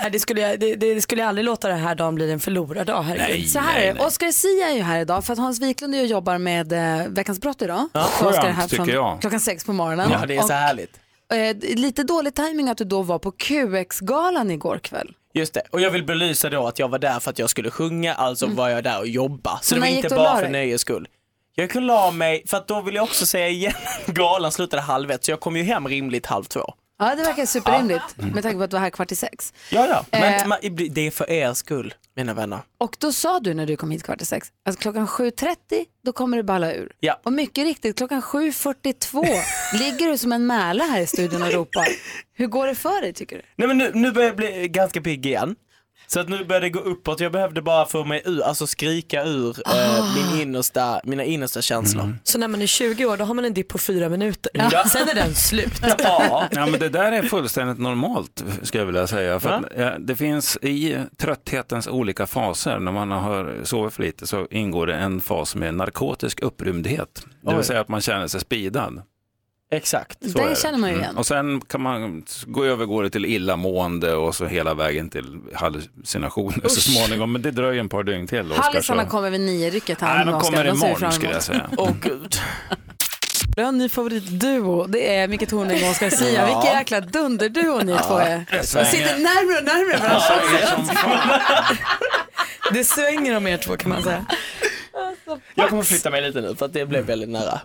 F: Äh, det, skulle jag, det, det skulle jag aldrig låta den här dagen bli en förlorad dag. herregud.
U: Nej,
E: Så här är det. Oskar Sia är ju här idag för att Hans Wiklund är ju och jobbar med eh, Veckans brott idag.
U: Ja,
E: Så Oskar är
U: skönt,
E: här
U: tycker jag.
E: Klockan sex på morgonen.
G: Ja, det är så härligt.
E: Och, eh, det är lite dålig timing att du då var på QX-galan igår kväll.
G: Just det, och jag vill belysa då att jag var där för att jag skulle sjunga, alltså var jag där och jobba. Så,
E: Så
G: det var
E: när
G: inte
E: Mm. gick du och la
G: bara för
E: dig?
G: nöjes skull. Jag kunde la mig, för att då vill jag också säga igen, galan slutade halv ett, så jag kom ju hem rimligt halv två.
E: Ja, Ja, det verkar superrimligt med tanke på att det var här kvart i sex.
G: Ja, ja. Men
E: Eh.
G: man, det är för er skull, mina vänner.
E: Och då sa du när du kom hit kvart i sex att klockan 7.30 då kommer du balla ur.
G: Ja.
E: Och mycket riktigt, klockan 7.42 ligger du som en mäla här i studion och ropar. Hur går det för dig tycker du?
G: Nej men nu, nu börjar jag bli ganska pigg igen. Så att nu börjar det gå uppåt. Jag behövde bara få mig ur, alltså skrika ur
E: Ah.
G: eh, min innersta, mina innersta känslor.
F: Så när man är 20 år då har man en dipp på fyra minuter.
G: Ja.
F: Sen är den slut.
G: Ja.
U: Ja, men det där är fullständigt normalt, skulle jag vilja säga. För att, eh, det finns i trötthetens olika faser, när man har sovit för lite, så ingår det en fas som är narkotisk upprymdhet. Det vill
G: Oj.
U: säga att man känner sig speedad.
G: Exakt.
U: Så
E: Det
U: är Mm.
E: känner man ju igen.
U: Och sen kan man gå övergår det till illamående och så hela vägen till hallucinationer så
E: Usch.
U: småningom. Men det dröjer en par dygn till. Oskar, så-
E: Hallisarna kommer vid nio-rycket här.
U: Nej,
E: med
U: de
E: Oscar.
U: kommer
E: De ser vi fram
U: imorgon skulle jag
E: emot.
U: säga.
G: Åh gud.
E: Vi har en ny favoritduo. Det är Micke Tornving och Oscar Zia.
U: Ja.
E: Vilken jäkla dunderduo ni två är.
F: det
E: De
F: svänger.
E: sitter närmare och närmare varandra.
F: Det svänger om er två kan man säga.
G: Jag kommer flytta mig lite nu för att det
E: Mm.
G: blev väldigt nära.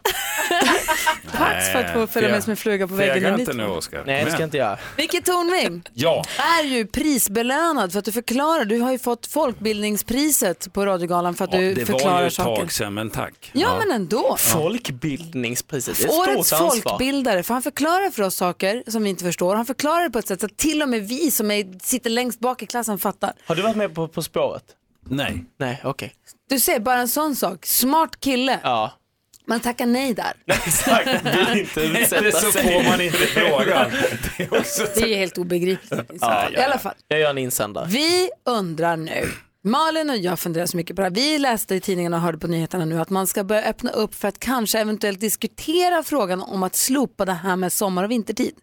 E: Tack för att få följa med som en fluga på väggen. i mitt liv.
U: Oskar.
G: Nej, det ska inte jag.
E: Micke Tornving
U: Ja.
E: är ju prisbelönad för att du förklarar. Du har ju fått folkbildningspriset på Radiogalan för att
U: Ja,
E: du
U: det var ju
E: förklarar
U: ett
E: saker.
U: tag sedan, men tack.
E: Ja, men ändå.
G: Folkbildningspriset, det är ett
E: Årets
G: stort ansvar.
E: folkbildare, för han förklarar för oss saker som vi inte förstår. Han förklarar det på ett sätt så att till och med vi som är, sitter längst bak i klassen fattar.
G: Har du varit med på På spåret?
U: Nej.
G: Nej, okej.
E: Du ser, bara en sån sak. Smart kille.
G: Ja.
E: Man tackar nej där.
G: Exakt, vill inte
U: Det är
G: utsätta
U: så
G: sig.
U: får man inte frågan.
E: Det är ju helt obegripligt.
G: Ja,
E: I alla fall.
G: Jag gör en insändare.
E: Vi undrar nu, Malin och jag funderar så mycket på det här. Vi läste i tidningen och hörde på nyheterna nu att man ska börja öppna upp för att kanske eventuellt diskutera frågan om att slopa det här med sommar och vintertid.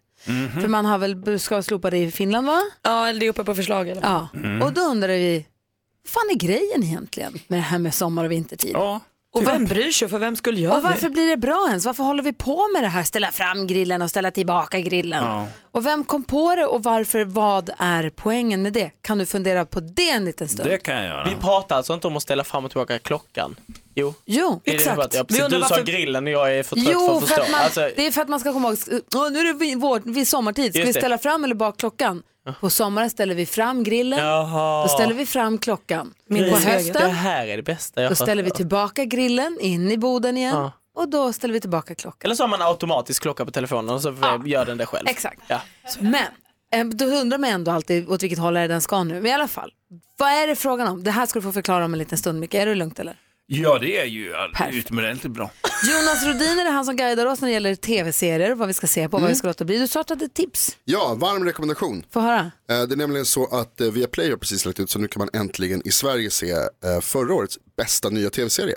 E: För man har väl, ska slopa det i Finland va?
F: Ja, eller det är uppe på förslag. Eller?
E: Ja,
F: Mm.
E: och då undrar vi, vad fan är grejen egentligen med det här med sommar och vintertid?
F: Och vem bryr sig? För vem skulle jag
E: och varför blir det bra ens? Varför håller vi på med det här? Ställa fram grillen och ställa tillbaka grillen.
F: Ja.
E: Och vem kom på det och varför? Vad är poängen med det? Kan du fundera på det en liten stund?
U: kan jag göra.
G: Vi pratar alltså inte om att ställa fram och tillbaka klockan? Jo,
E: Jo,
G: Är det
E: exakt.
G: bara att- Ja,
E: Vi
G: precis, du
E: undrar
G: sa
E: varför-
G: grillen och jag är för trött för
E: Jo,
G: att
E: för
G: förstå.
E: att man,
G: alltså,
E: det är för att man ska komma ihåg, eh, "Åh, nu är det vi- vår, vi är sommartid, ska
G: Just
E: vi
G: det.
E: ställa fram eller bak klockan? På sommaren ställer vi fram grillen,
G: Jaha.
E: då ställer vi fram klockan.
G: Min
E: på
G: Det
E: hösten,
G: här är det bästa jag
E: då ställer vi
G: hört.
E: tillbaka grillen in i boden igen
G: Ja.
E: och då ställer vi tillbaka klockan.
G: Eller så har man automatisk klocka på telefonen och så gör den det själv.
E: Exakt.
G: Ja.
E: Men eh, då undrar man ändå alltid åt vilket håll är det den ska nu. Men i alla fall, vad är det frågan om? Det här ska du få förklara om en liten stund, Micke. Är det lugnt eller?
U: Ja, det är ju utomordentligt bra.
E: Jonas Rodiner är han som guidar oss när det gäller tv-serier, vad vi ska se på, vad vi ska låta bli. Du sa att du hade tips.
J: Ja, varm rekommendation.
E: Få höra.
J: Eh, Det är nämligen så att eh, Viaplay har precis lagt ut så nu kan man äntligen i Sverige se eh, förra årets bästa nya tv-serie.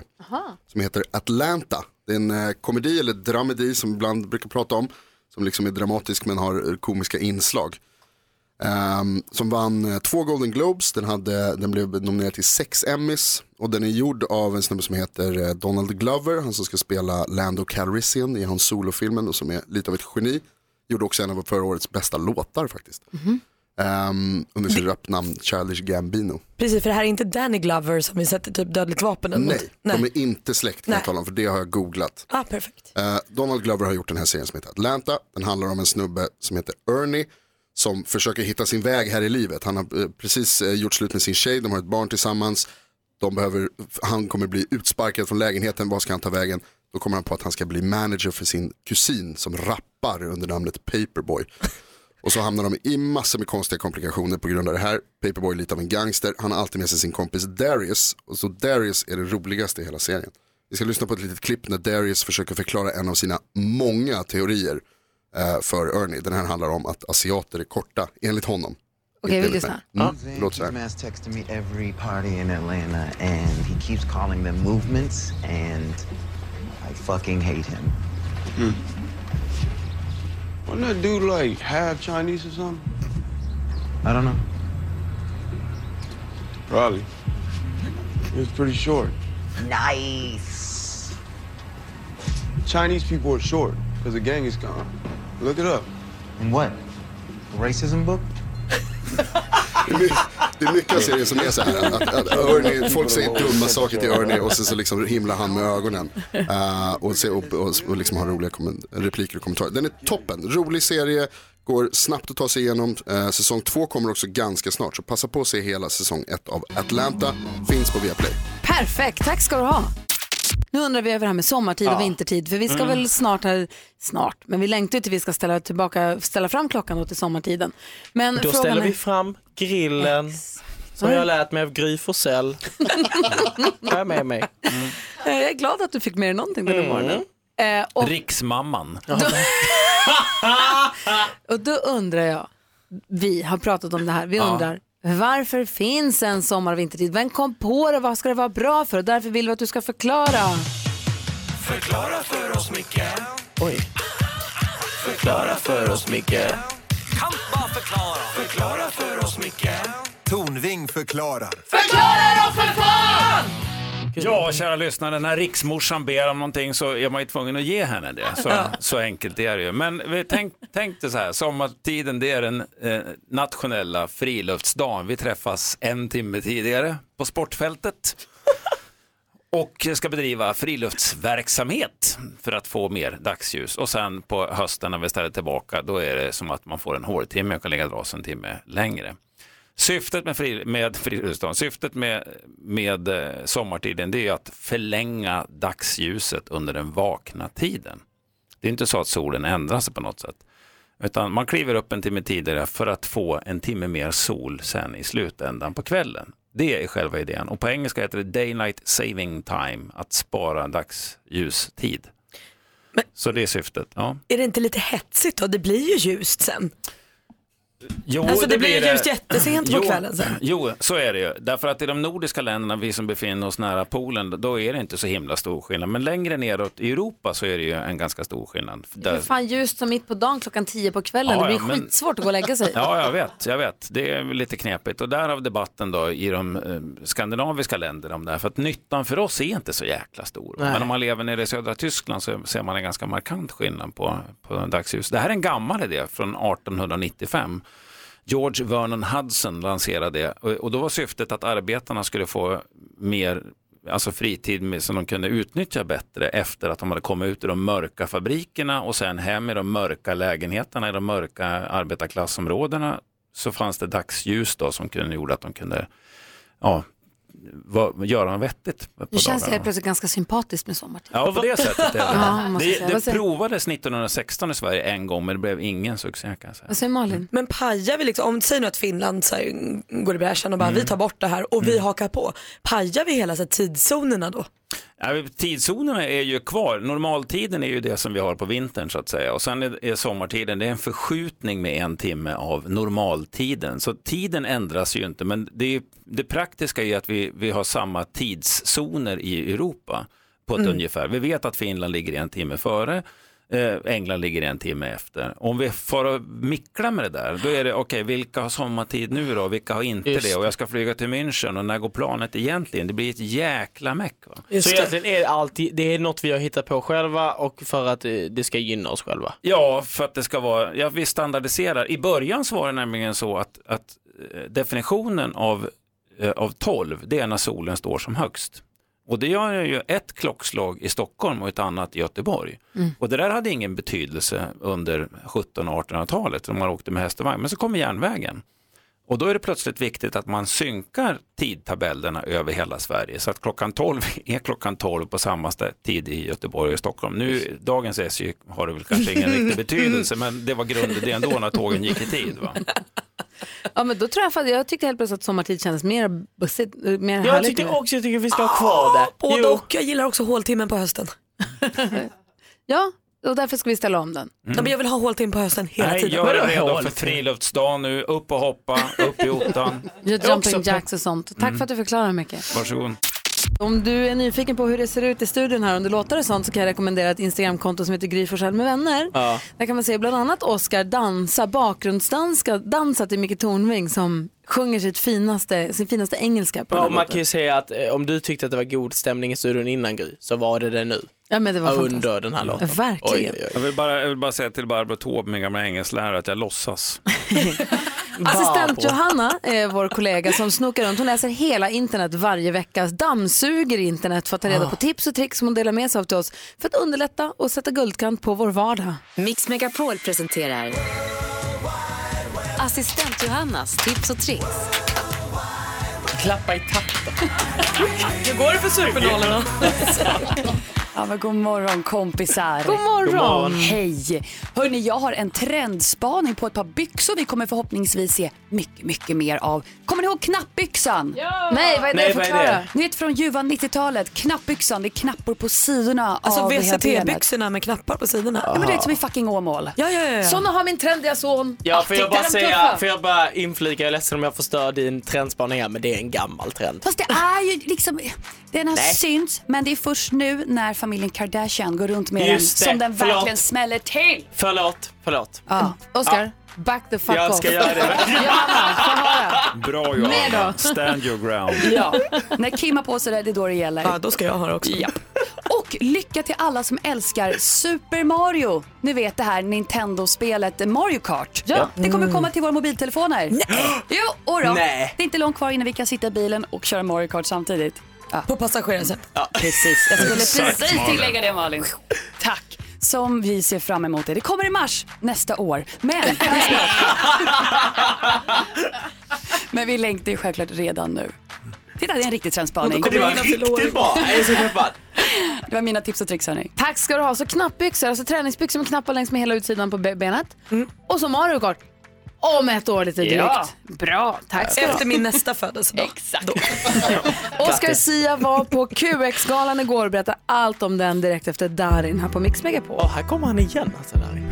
J: Som heter Atlanta. Det är en eh, komedi eller dramedi som vi ibland brukar prata om. Som liksom är dramatisk men har eh, komiska inslag. Ehm, som vann eh, två Golden Globes, den, hade, den blev nominerad till sex Emmys och den är gjord av en snubbe som heter eh, Donald Glover, han som ska spela Lando Calrissian i hans solofilmen och som är lite av ett geni. Gjorde också en av förra årets bästa låtar faktiskt. Ehm, under sitt rapnamn Childish Gambino.
F: Precis, för det här är inte Danny Glover som vi sätter typ dödligt vapen emot.
J: Nej, de är inte släkt kan jag
F: Nej.
J: tala om för det har jag googlat.
F: Ah, perfekt.
J: Eh, Donald Glover har gjort den här serien som heter Atlanta. Den handlar om en snubbe som heter Ernie som försöker hitta sin väg här i livet. Han har eh, precis eh, gjort slut med sin tjej, de har ett barn tillsammans. De behöver, han kommer bli utsparkad från lägenheten, vad ska han ta vägen? Då kommer han på att han ska bli manager för sin kusin som rappar under namnet Paperboy. Och så hamnar de i massor med konstiga komplikationer på grund av det här. Paperboy är lite av en gangster, han har alltid med sig sin kompis Darius. Och så Darius är det roligaste i hela serien. Vi ska lyssna på ett litet klipp när Darius försöker förklara en av sina många teorier eh, för Ernie. Den här handlar om att asiater är korta, enligt honom.
E: Okej,
J: Inte
E: vi
J: enligt
E: lyssnar.
J: mig.
E: Ja.
J: Mm, det låter så här.
B: Mass texts to me every party in Atlanta, and he keeps calling them movements, and I fucking hate him.
V: Hmm. Wasn't that dude like half Chinese or something?
B: I don't know.
V: Probably. He was pretty short.
B: Nice.
V: Chinese people are short because the gang is gone. Look it up.
B: And what? Racism book?
J: Det är mycket- Det är mycket av serien som är så här. Att, att Ernie, folk säger dumma saker till Ernie och sen så liksom himlar han med ögonen. Eh, och, se, och, och, och liksom har roliga kommen- repliker och kommentarer. Den är toppen, rolig serie, Går snabbt att ta sig igenom. Eh, säsong två kommer också ganska snart. Så passa på att se hela säsong ett av Atlanta. Finns på Viaplay.
E: Perfekt, tack ska du ha. Nu undrar vi över det här med sommartid
J: Ja.
E: och vintertid. För vi ska
J: Mm.
E: väl snart här, snart, men vi längtar ju till vi ska ställa, tillbaka, ställa fram klockan då till sommartiden. Men
G: Då
E: frågan
G: ställer
E: är...
G: vi fram grillen som jag lärt mig av Gry Forssell. Tar jag med mig.
E: Eh, Jag är glad att du fick med dig någonting den här
U: Mm.
E: morgonen. Eh, och,
U: Riksmamman.
E: och då undrar jag, vi har pratat om det här, vi
U: Ja.
E: undrar varför finns en sommar och vintertid? Vem kom på det? Vad ska det vara bra för? Och därför vill vi att du ska förklara.
H: Förklara för oss, Micke.
G: Oj.
H: Förklara för oss, Micke.
O: Kan bara förklara. Förklara för oss, Micke. Tornving förklarar.
H: Förklara då för fan!
U: Ja, kära lyssnare, när riksmorsan ber om någonting så är man ju tvungen att ge henne det. Så,
H: Ja.
U: så enkelt är det ju. Men vi tänk, tänk dig så här, sommartiden det är den eh, nationella friluftsdagen. Vi träffas en timme tidigare på sportfältet och ska bedriva friluftsverksamhet för att få mer dagsljus. Och sen på hösten när vi ställer tillbaka, då är det som att man får en hårtimme och kan lägga dras en timme längre. Syftet med, fri, med friluftsdagen, syftet med, med eh, sommartiden, det är ju att förlänga dagsljuset under den vakna tiden. Det är inte så att solen ändras på något sätt, utan man kliver upp en timme tidigare för att få en timme mer sol sen i slutändan på kvällen. Det är själva idén och på engelska heter det daylight saving time, att spara dagsljustid. Så det är syftet. Ja.
F: Är det inte lite hetsigt då? Det blir ju ljust sen.
U: Jo,
F: Alltså, det blir ljust jättesent på
U: Jo,
F: kvällen sen.
U: Jo, så är det ju. Därför att i de nordiska länderna, vi som befinner oss nära polen, då är det inte så himla stor skillnad. Men längre neråt i Europa så är det ju en ganska stor skillnad. Där-
E: Hur fan ljust som mitt på dagen klockan tio på kvällen?
U: Ja,
E: det
U: ja,
E: blir
U: men-
E: skitsvårt att gå och lägga sig.
U: Ja, jag vet, jag vet. Det är lite knepigt. Och därav debatten då i de eh, skandinaviska länderna om det här. För att nyttan för oss är inte så jäkla stor.
G: Nej.
U: Men om man lever nere i södra Tyskland så ser man en ganska markant skillnad på, på dagsljus. Det här är en gammal idé från 1895. George Vernon Hudson lanserade det och och då var syftet att arbetarna skulle få mer alltså fritid med, som de kunde utnyttja bättre efter att de hade kommit ut ur de mörka fabrikerna och sen hem i de mörka lägenheterna i de mörka arbetarklassområdena så fanns det dagsljus då som kunde, gjorde att de kunde ja, va, göra något vettigt. på
E: Nu känns det
U: dagarna.
E: helt plötsligt ganska sympatiskt med sommartid.
U: Ja, på det sättet. Är det.
E: Ja, måste jag
U: det
E: säga.
U: det
E: Vad säger-
U: provades 1916 i Sverige en gång men det blev ingen succé kan jag säga.
E: Vad säger Malin?
F: Men pajar vi liksom, om säg nu att Finland så här, går i bräschen och bara
U: Mm.
F: vi tar bort det här och vi hakar på. Pajar vi hela så här, tidszonerna då?
U: Ja, Tidszonerna är ju kvar. Normaltiden är ju det som vi har på vintern så att säga. Och sen är, är sommartiden, det är en förskjutning med en timme av normaltiden. Så tiden ändras ju inte, men det, är, det praktiska är ju att vi, vi har samma tidszoner i Europa på ett
G: Mm.
U: ungefär. Vi vet att Finland ligger en timme före. eh, England ligger en timme efter. Om vi får och mickla med det där, då är det okej, vilka har sommartid nu då? Vilka har inte
G: Just
U: det? Och
G: det.
U: jag ska flyga till München och när går planet egentligen? Det blir ett jäkla meck. Va?
G: Så egentligen är det, alltid, det är något vi har hittat på själva och för att eh, det ska gynna oss själva.
U: Ja, för att det ska vara, ja, vi standardiserar. I början så var det nämligen så att, att eh, definitionen av, eh, av 12, det är när solen står som högst. Och det gör ju ett klockslag i Stockholm och ett annat i Göteborg.
H: Mm.
U: Och det där hade ingen betydelse under 1700 och 1800-talet när man åkte med häst och vagn. Men så kom järnvägen. Och då är det plötsligt viktigt att man synkar tidtabellerna över hela Sverige så att klockan 12 är klockan 12 på samma stä- tid i Göteborg och Stockholm. Nu, dagens SJ har det väl kanske ingen riktig betydelse men det var grundidén då när tågen gick i tid. Va?
E: Ja, men då tror jag, fan- jag tyckte helt plötsligt att sommartid kändes mer bussigt, eh, mer
F: Jag
E: härligt. Ah,
F: tyckte
G: också jag tycker vi ska ha kvar det.
F: Både och, jag gillar också håltimmen på hösten.
G: Mm.
E: ja, och därför ska vi ställa om den.
F: Ja, men jag vill ha håltimme på hösten hela
U: Nej,
F: tiden.
U: jag är redo för friluftsdag nu. Upp och hoppa, upp i ottan.
E: Gör jumping jacks och sånt. Tack
U: Mm.
E: för att du förklarar mycket.
U: Varsågod.
E: Om du är nyfiken på hur det ser ut i studion här under låtar och sånt så kan jag rekommendera ett Instagramkonto som heter Gry Forssell med vänner.
H: Ja.
E: Där kan man se bland annat Oscar dansa, bakgrundsdansa, dansa till Micke Tornving som sjunger sitt finaste, sin finaste engelska på den
G: Ja,
E: här
G: och man
E: låten.
G: kan ju säga att eh, om du tyckte att det var god stämning i studion innan Gry, så var det det nu.
E: Ja, men det var fantastiskt.
G: Under den här låten.
E: Verkligen.
U: Jag vill, bara, jag vill bara säga till Barbro Taube, min gamla engelsklärare, att jag låtsas.
E: Assistent Johanna är vår kollega som snokar runt. Hon läser hela internet varje vecka, dammsuger internet för att ta reda på tips och tricks som hon delar med sig av till oss för att underlätta och sätta guldkant på vår vardag.
A: Mix Megapol presenterar Assistent Johannas tips och tricks.
E: Klappa i takt.
F: Hur går det för supernollorna?
C: Ja, men god morgon kompisar.
E: God morgon. God morgon.
C: Hej. Hörni, jag har en trendspaning på ett par byxor vi kommer förhoppningsvis se mycket, mycket mer av. Kommer ni ihåg knappbyxan?
E: Ja. Nej, vad är det? Nej, vad är Förklara. det?
C: Ni vet från ljuva 90-talet, knappbyxan, det är knappor på sidorna
F: Alltså
C: av
F: VCT-byxorna med knappar på sidorna.
C: Ja, men det är som i fucking Åmål.
F: Ja, ja, ja.
E: Såna har min trendiga son.
G: Ja, får jag
E: Titta,
G: bara
E: Ah, de
G: säga,
E: tuffa.
G: får jag bara inflika, jag är ledsen om jag förstör din trendspaning här, men det är en gammal trend.
C: Fast det är ju liksom, den har
G: Nej.
C: synts men det är först nu när familjen Kardashian går runt med den
G: Just det,
C: som den
G: förlåt.
C: verkligen smäller till.
G: Förlåt, förlåt.
E: Ah,
C: Ja.
E: Oscar, back the fuck
G: Jag
E: off.
G: ska göra det.
E: Johanna, få höra.
U: Bra
E: Mer då?
U: Johanna, stand your ground.
C: Ja. När Kim har på sig det, det är då det gäller.
F: Ja, då ska jag ha det också.
C: Ja. Och lycka till alla som älskar Super Mario. Ni vet det här Nintendo-spelet Mario Kart.
F: Ja.
C: Det kommer komma till våra mobiltelefoner. Nej. Jo, och då.
F: Nej.
C: Det är inte långt kvar innan vi kan sitta i bilen och köra Mario Kart samtidigt. Ja.
F: På passagerarsätet.
C: Precis, jag skulle
F: Exakt,
C: precis
F: Malin.
C: tillägga det Malin. Tack. Som vi ser fram emot det. Det kommer i mars nästa år. Men, men vi längtar ju självklart redan nu. Titta, det är en riktig trendspaning.
G: Det var riktigt bra. Jag är så peppad.
C: Det var mina tips och tricks hörni.
E: Tack ska du ha. Så knappbyxor, alltså träningsbyxor med knappar längs med hela utsidan på be- benet.
G: Mm.
E: Och så Mario Kart. Om ett år lite drygt.
F: Ja.
E: Bra, tack ska du ha.
F: Efter min nästa födelsedag.
C: Exakt.
E: Oscar Sia var på QX-galan igår och berättar allt om den direkt efter Darin här på Mix Megapol.
G: Åh, här kommer han igen alltså. Darin.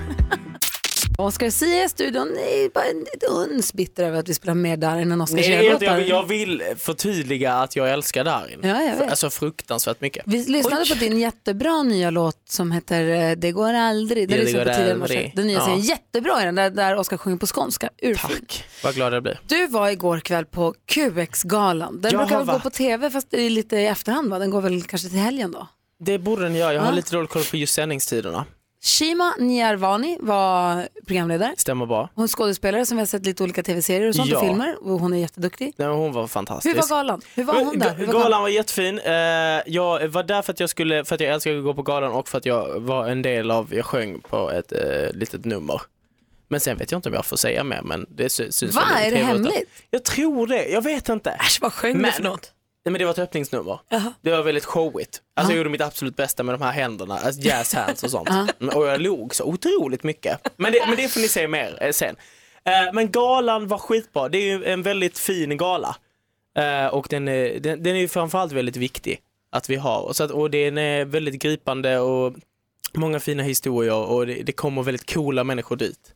E: Oscar Sia i studion är bara lite uns bitter över att vi spelar mer Darin än Oscar
G: Nej, jag, jag,
E: Sia-låtar.
G: jag vill förtydliga att jag älskar Darin.
E: Ja, jag vet.
G: Alltså fruktansvärt mycket.
E: Vi lyssnade på din jättebra nya låt som heter eh, Det går aldrig.
G: Ja, det
E: lyssnade vi
G: går
E: på tidigare i morse.
G: aldrig.
E: Den nya
G: Ja.
E: serien, jättebra är den där, där Oscar sjunger på skånska. Urfin.
G: Vad glad jag blir.
E: Du var igår kväll på QX-galan. Den
G: Jag
E: brukar
G: har
E: väl gå
G: varit.
E: på tv fast det är lite i efterhand va? Den går väl kanske till helgen då?
G: Det borde den göra. Jag har
E: Ja.
G: lite dålig koll på just sändningstiderna.
E: Shima Niarvani var programledare.
G: Stämmer bra.
E: Hon är skådespelare som vi har sett lite olika tv-serier och sånt
G: Ja.
E: och filmer och hon är jätteduktig.
G: Nej, men hon var
E: Hur
G: fantastisk.
E: var galan? Hur var hon där? Hur var
G: Galan var jättefin. Eh, Jag var där för att jag, skulle, för att jag älskar att gå på galan och för att jag var en del av, jag sjöng på ett eh, litet nummer. Men sen vet jag inte om jag får säga mer men det sy- syns
E: Va?
G: väl i
E: Är det
G: TV-rutan.
E: hemligt?
G: Jag tror det, jag vet inte.
F: Äsch, vad sjöng du för något?
G: Nej, men det var ett öppningsnummer. Det var väldigt showigt. Alltså, jag gjorde mitt absolut bästa med de här händerna, alltså jazz hands och sånt.
F: Ja.
G: Mm, Och jag log så otroligt mycket. Men det, men det får ni se mer eh, sen. Eh, Men galan var skitbra, det är ju en väldigt fin gala. Eh, Och den är, den, den är ju framförallt väldigt viktig att vi har. Och Så att, och den är väldigt gripande och många fina historier och det, det kommer väldigt coola människor dit.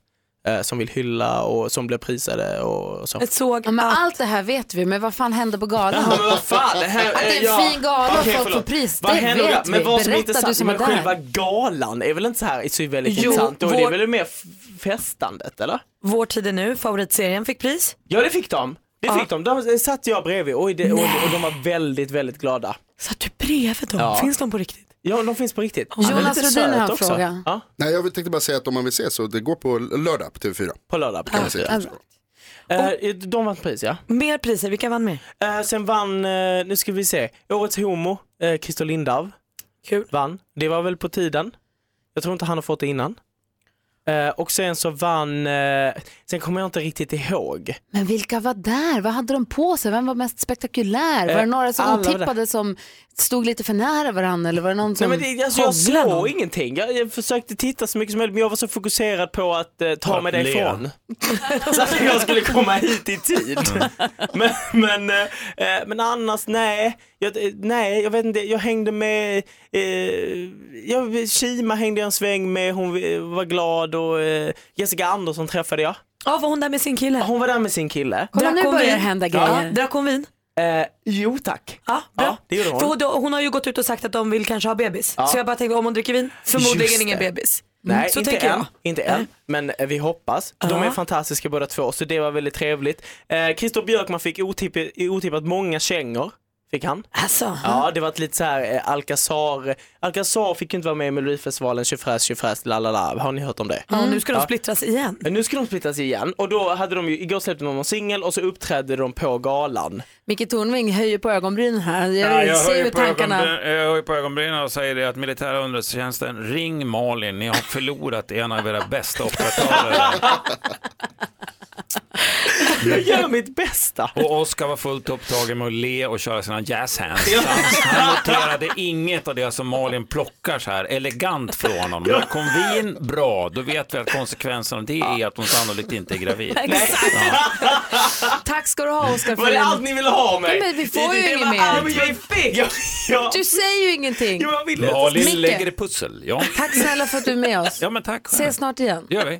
G: eh, Som vill hylla och som blir prisade och så.
E: Ett såg ja, men Allt det här vet vi, men vad fan hände på galan?
G: Ja, men vad fan, det här,
E: att det är en
G: ja.
E: fin gala och
G: Okej,
E: folk får
G: förlåt.
E: pris,
G: Vad
E: det
G: händer då?
E: vet vi.
G: Men vad som är
E: Berätta du
G: intressant,
E: som var
G: men själva
E: där.
G: galan är väl inte så här så väldigt
F: Jo,
G: intressant? Då är
F: vår-
G: det väl mer f- festandet eller?
F: Vår tid är nu, favoritserien fick pris.
G: Ja det fick de. Det fick de. De satt jag bredvid Oj, det, och, och de var väldigt, väldigt glada.
F: Bredvid dem,
G: Ja.
F: finns de på riktigt?
G: Ja, de finns på riktigt.
F: Jonas
G: Han är lite
F: Rhodin har
G: söt
F: en
G: också.
F: fråga.
G: Ja,
J: Nej, jag tänkte bara säga att om man vill se så det går på lördag på TV4.
G: på lördag.
J: Kan man se.
E: Alltså.
G: Eh, de vann pris ja.
F: Mer priser, vilka vann mer?
G: Eh, sen vann, eh, nu ska vi se, Årets Homo, eh, Christer Lindarw.
F: Kul.
G: Vann. Det var väl på tiden. Jag tror inte han har fått det innan. Eh, och sen så vann, eh, sen kommer jag inte riktigt ihåg.
E: Men vilka var där? Vad hade de på sig? Vem var mest spektakulär?
G: Eh,
E: var det några som
G: alla var
E: otippade
G: där.
E: som stod lite för nära varandra eller var det någon
G: Nej,
E: som
G: men det, alltså, jag
E: hånglade
G: såg
E: någon?
G: ingenting. Jag, jag försökte titta så mycket som möjligt men jag var så fokuserad på att eh, ta
U: Att
G: mig
U: le.
G: därifrån. så att jag skulle komma hit i tid. Men, men, eh, eh, men annars nej. Jag, eh, nej, jag vet inte. Jag hängde med, eh, jag, Kima hängde jag en sväng med, hon eh, var glad och eh, Jessica Andersson träffade jag.
F: Ja, var hon där med sin kille?
G: Hon var där med sin kille.
F: Drack hon vin? Ja,
G: Ja,
F: drack hon vin?
G: Eh, jo tack.
F: Ja, bra.
G: Ja, det gjorde hon.
F: För hon, hon har ju gått ut och sagt att de vill kanske ha bebis.
G: Ja.
F: Så jag bara tänkte om hon dricker vin,
G: Just
F: förmodligen
G: det.
F: ingen bebis.
W: Mm,
G: Nej,
F: så
G: inte
F: tänker
G: än,
F: jag.
G: inte än, men eh, vi hoppas. De
F: Ja.
G: är fantastiska båda två, så det var väldigt trevligt. Eh, Christer Björkman fick otipp- otippat många kängor. Fick han.
F: Alltså.
G: Ja, det var ett lite så här eh, Alcazar. Alcazar fick ju inte vara med i Melodifestivalen, tjofräs, tjofräs, la la la. Har ni hört om det?
W: Mm.
F: Ja, nu ska de
G: Ja.
F: splittras igen.
G: Men Nu ska de splittas igen och då hade de ju, igår släppte de någon singel och så uppträdde de på galan.
E: Micke Tornving höjer på ögonbrynen här. Jag,
U: Ja, jag
E: ser
U: höjer
E: ju
U: på
E: tankarna.
U: ögonbry- Jag höjer på ögonbrynen och säger det att militära underrättelsetjänsten, ring Malin, ni har förlorat en av era bästa operatörer.
G: Jag gör mitt bästa.
U: Och Oskar var fullt upptagen med att le och köra sina jazz hands. Han noterade inget av det som Malin plockar så här elegant från honom. Men kom vi in bra, då vet vi att konsekvensen av det är att hon sannolikt inte är gravid.
X: Tack ska du ha Oskar.
G: Var det allt ni ville ha av mig?
W: Men vi får ju
G: Det- det
W: inget
G: var-
W: mer.
G: Ja, men jag är feg. Jag- jag-
W: Du säger ju ingenting. Micke,
U: Malin lägger ett pussel, ja.
W: Tack snälla för att du är med oss.
U: Ja men tack.
W: Ses snart igen.
U: Det gör vi.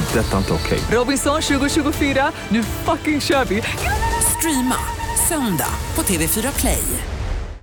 Y: Det. är Detta är inte okej.
I: Robinson 2024, nu fucking kör vi! Streama söndag på TV4 Play.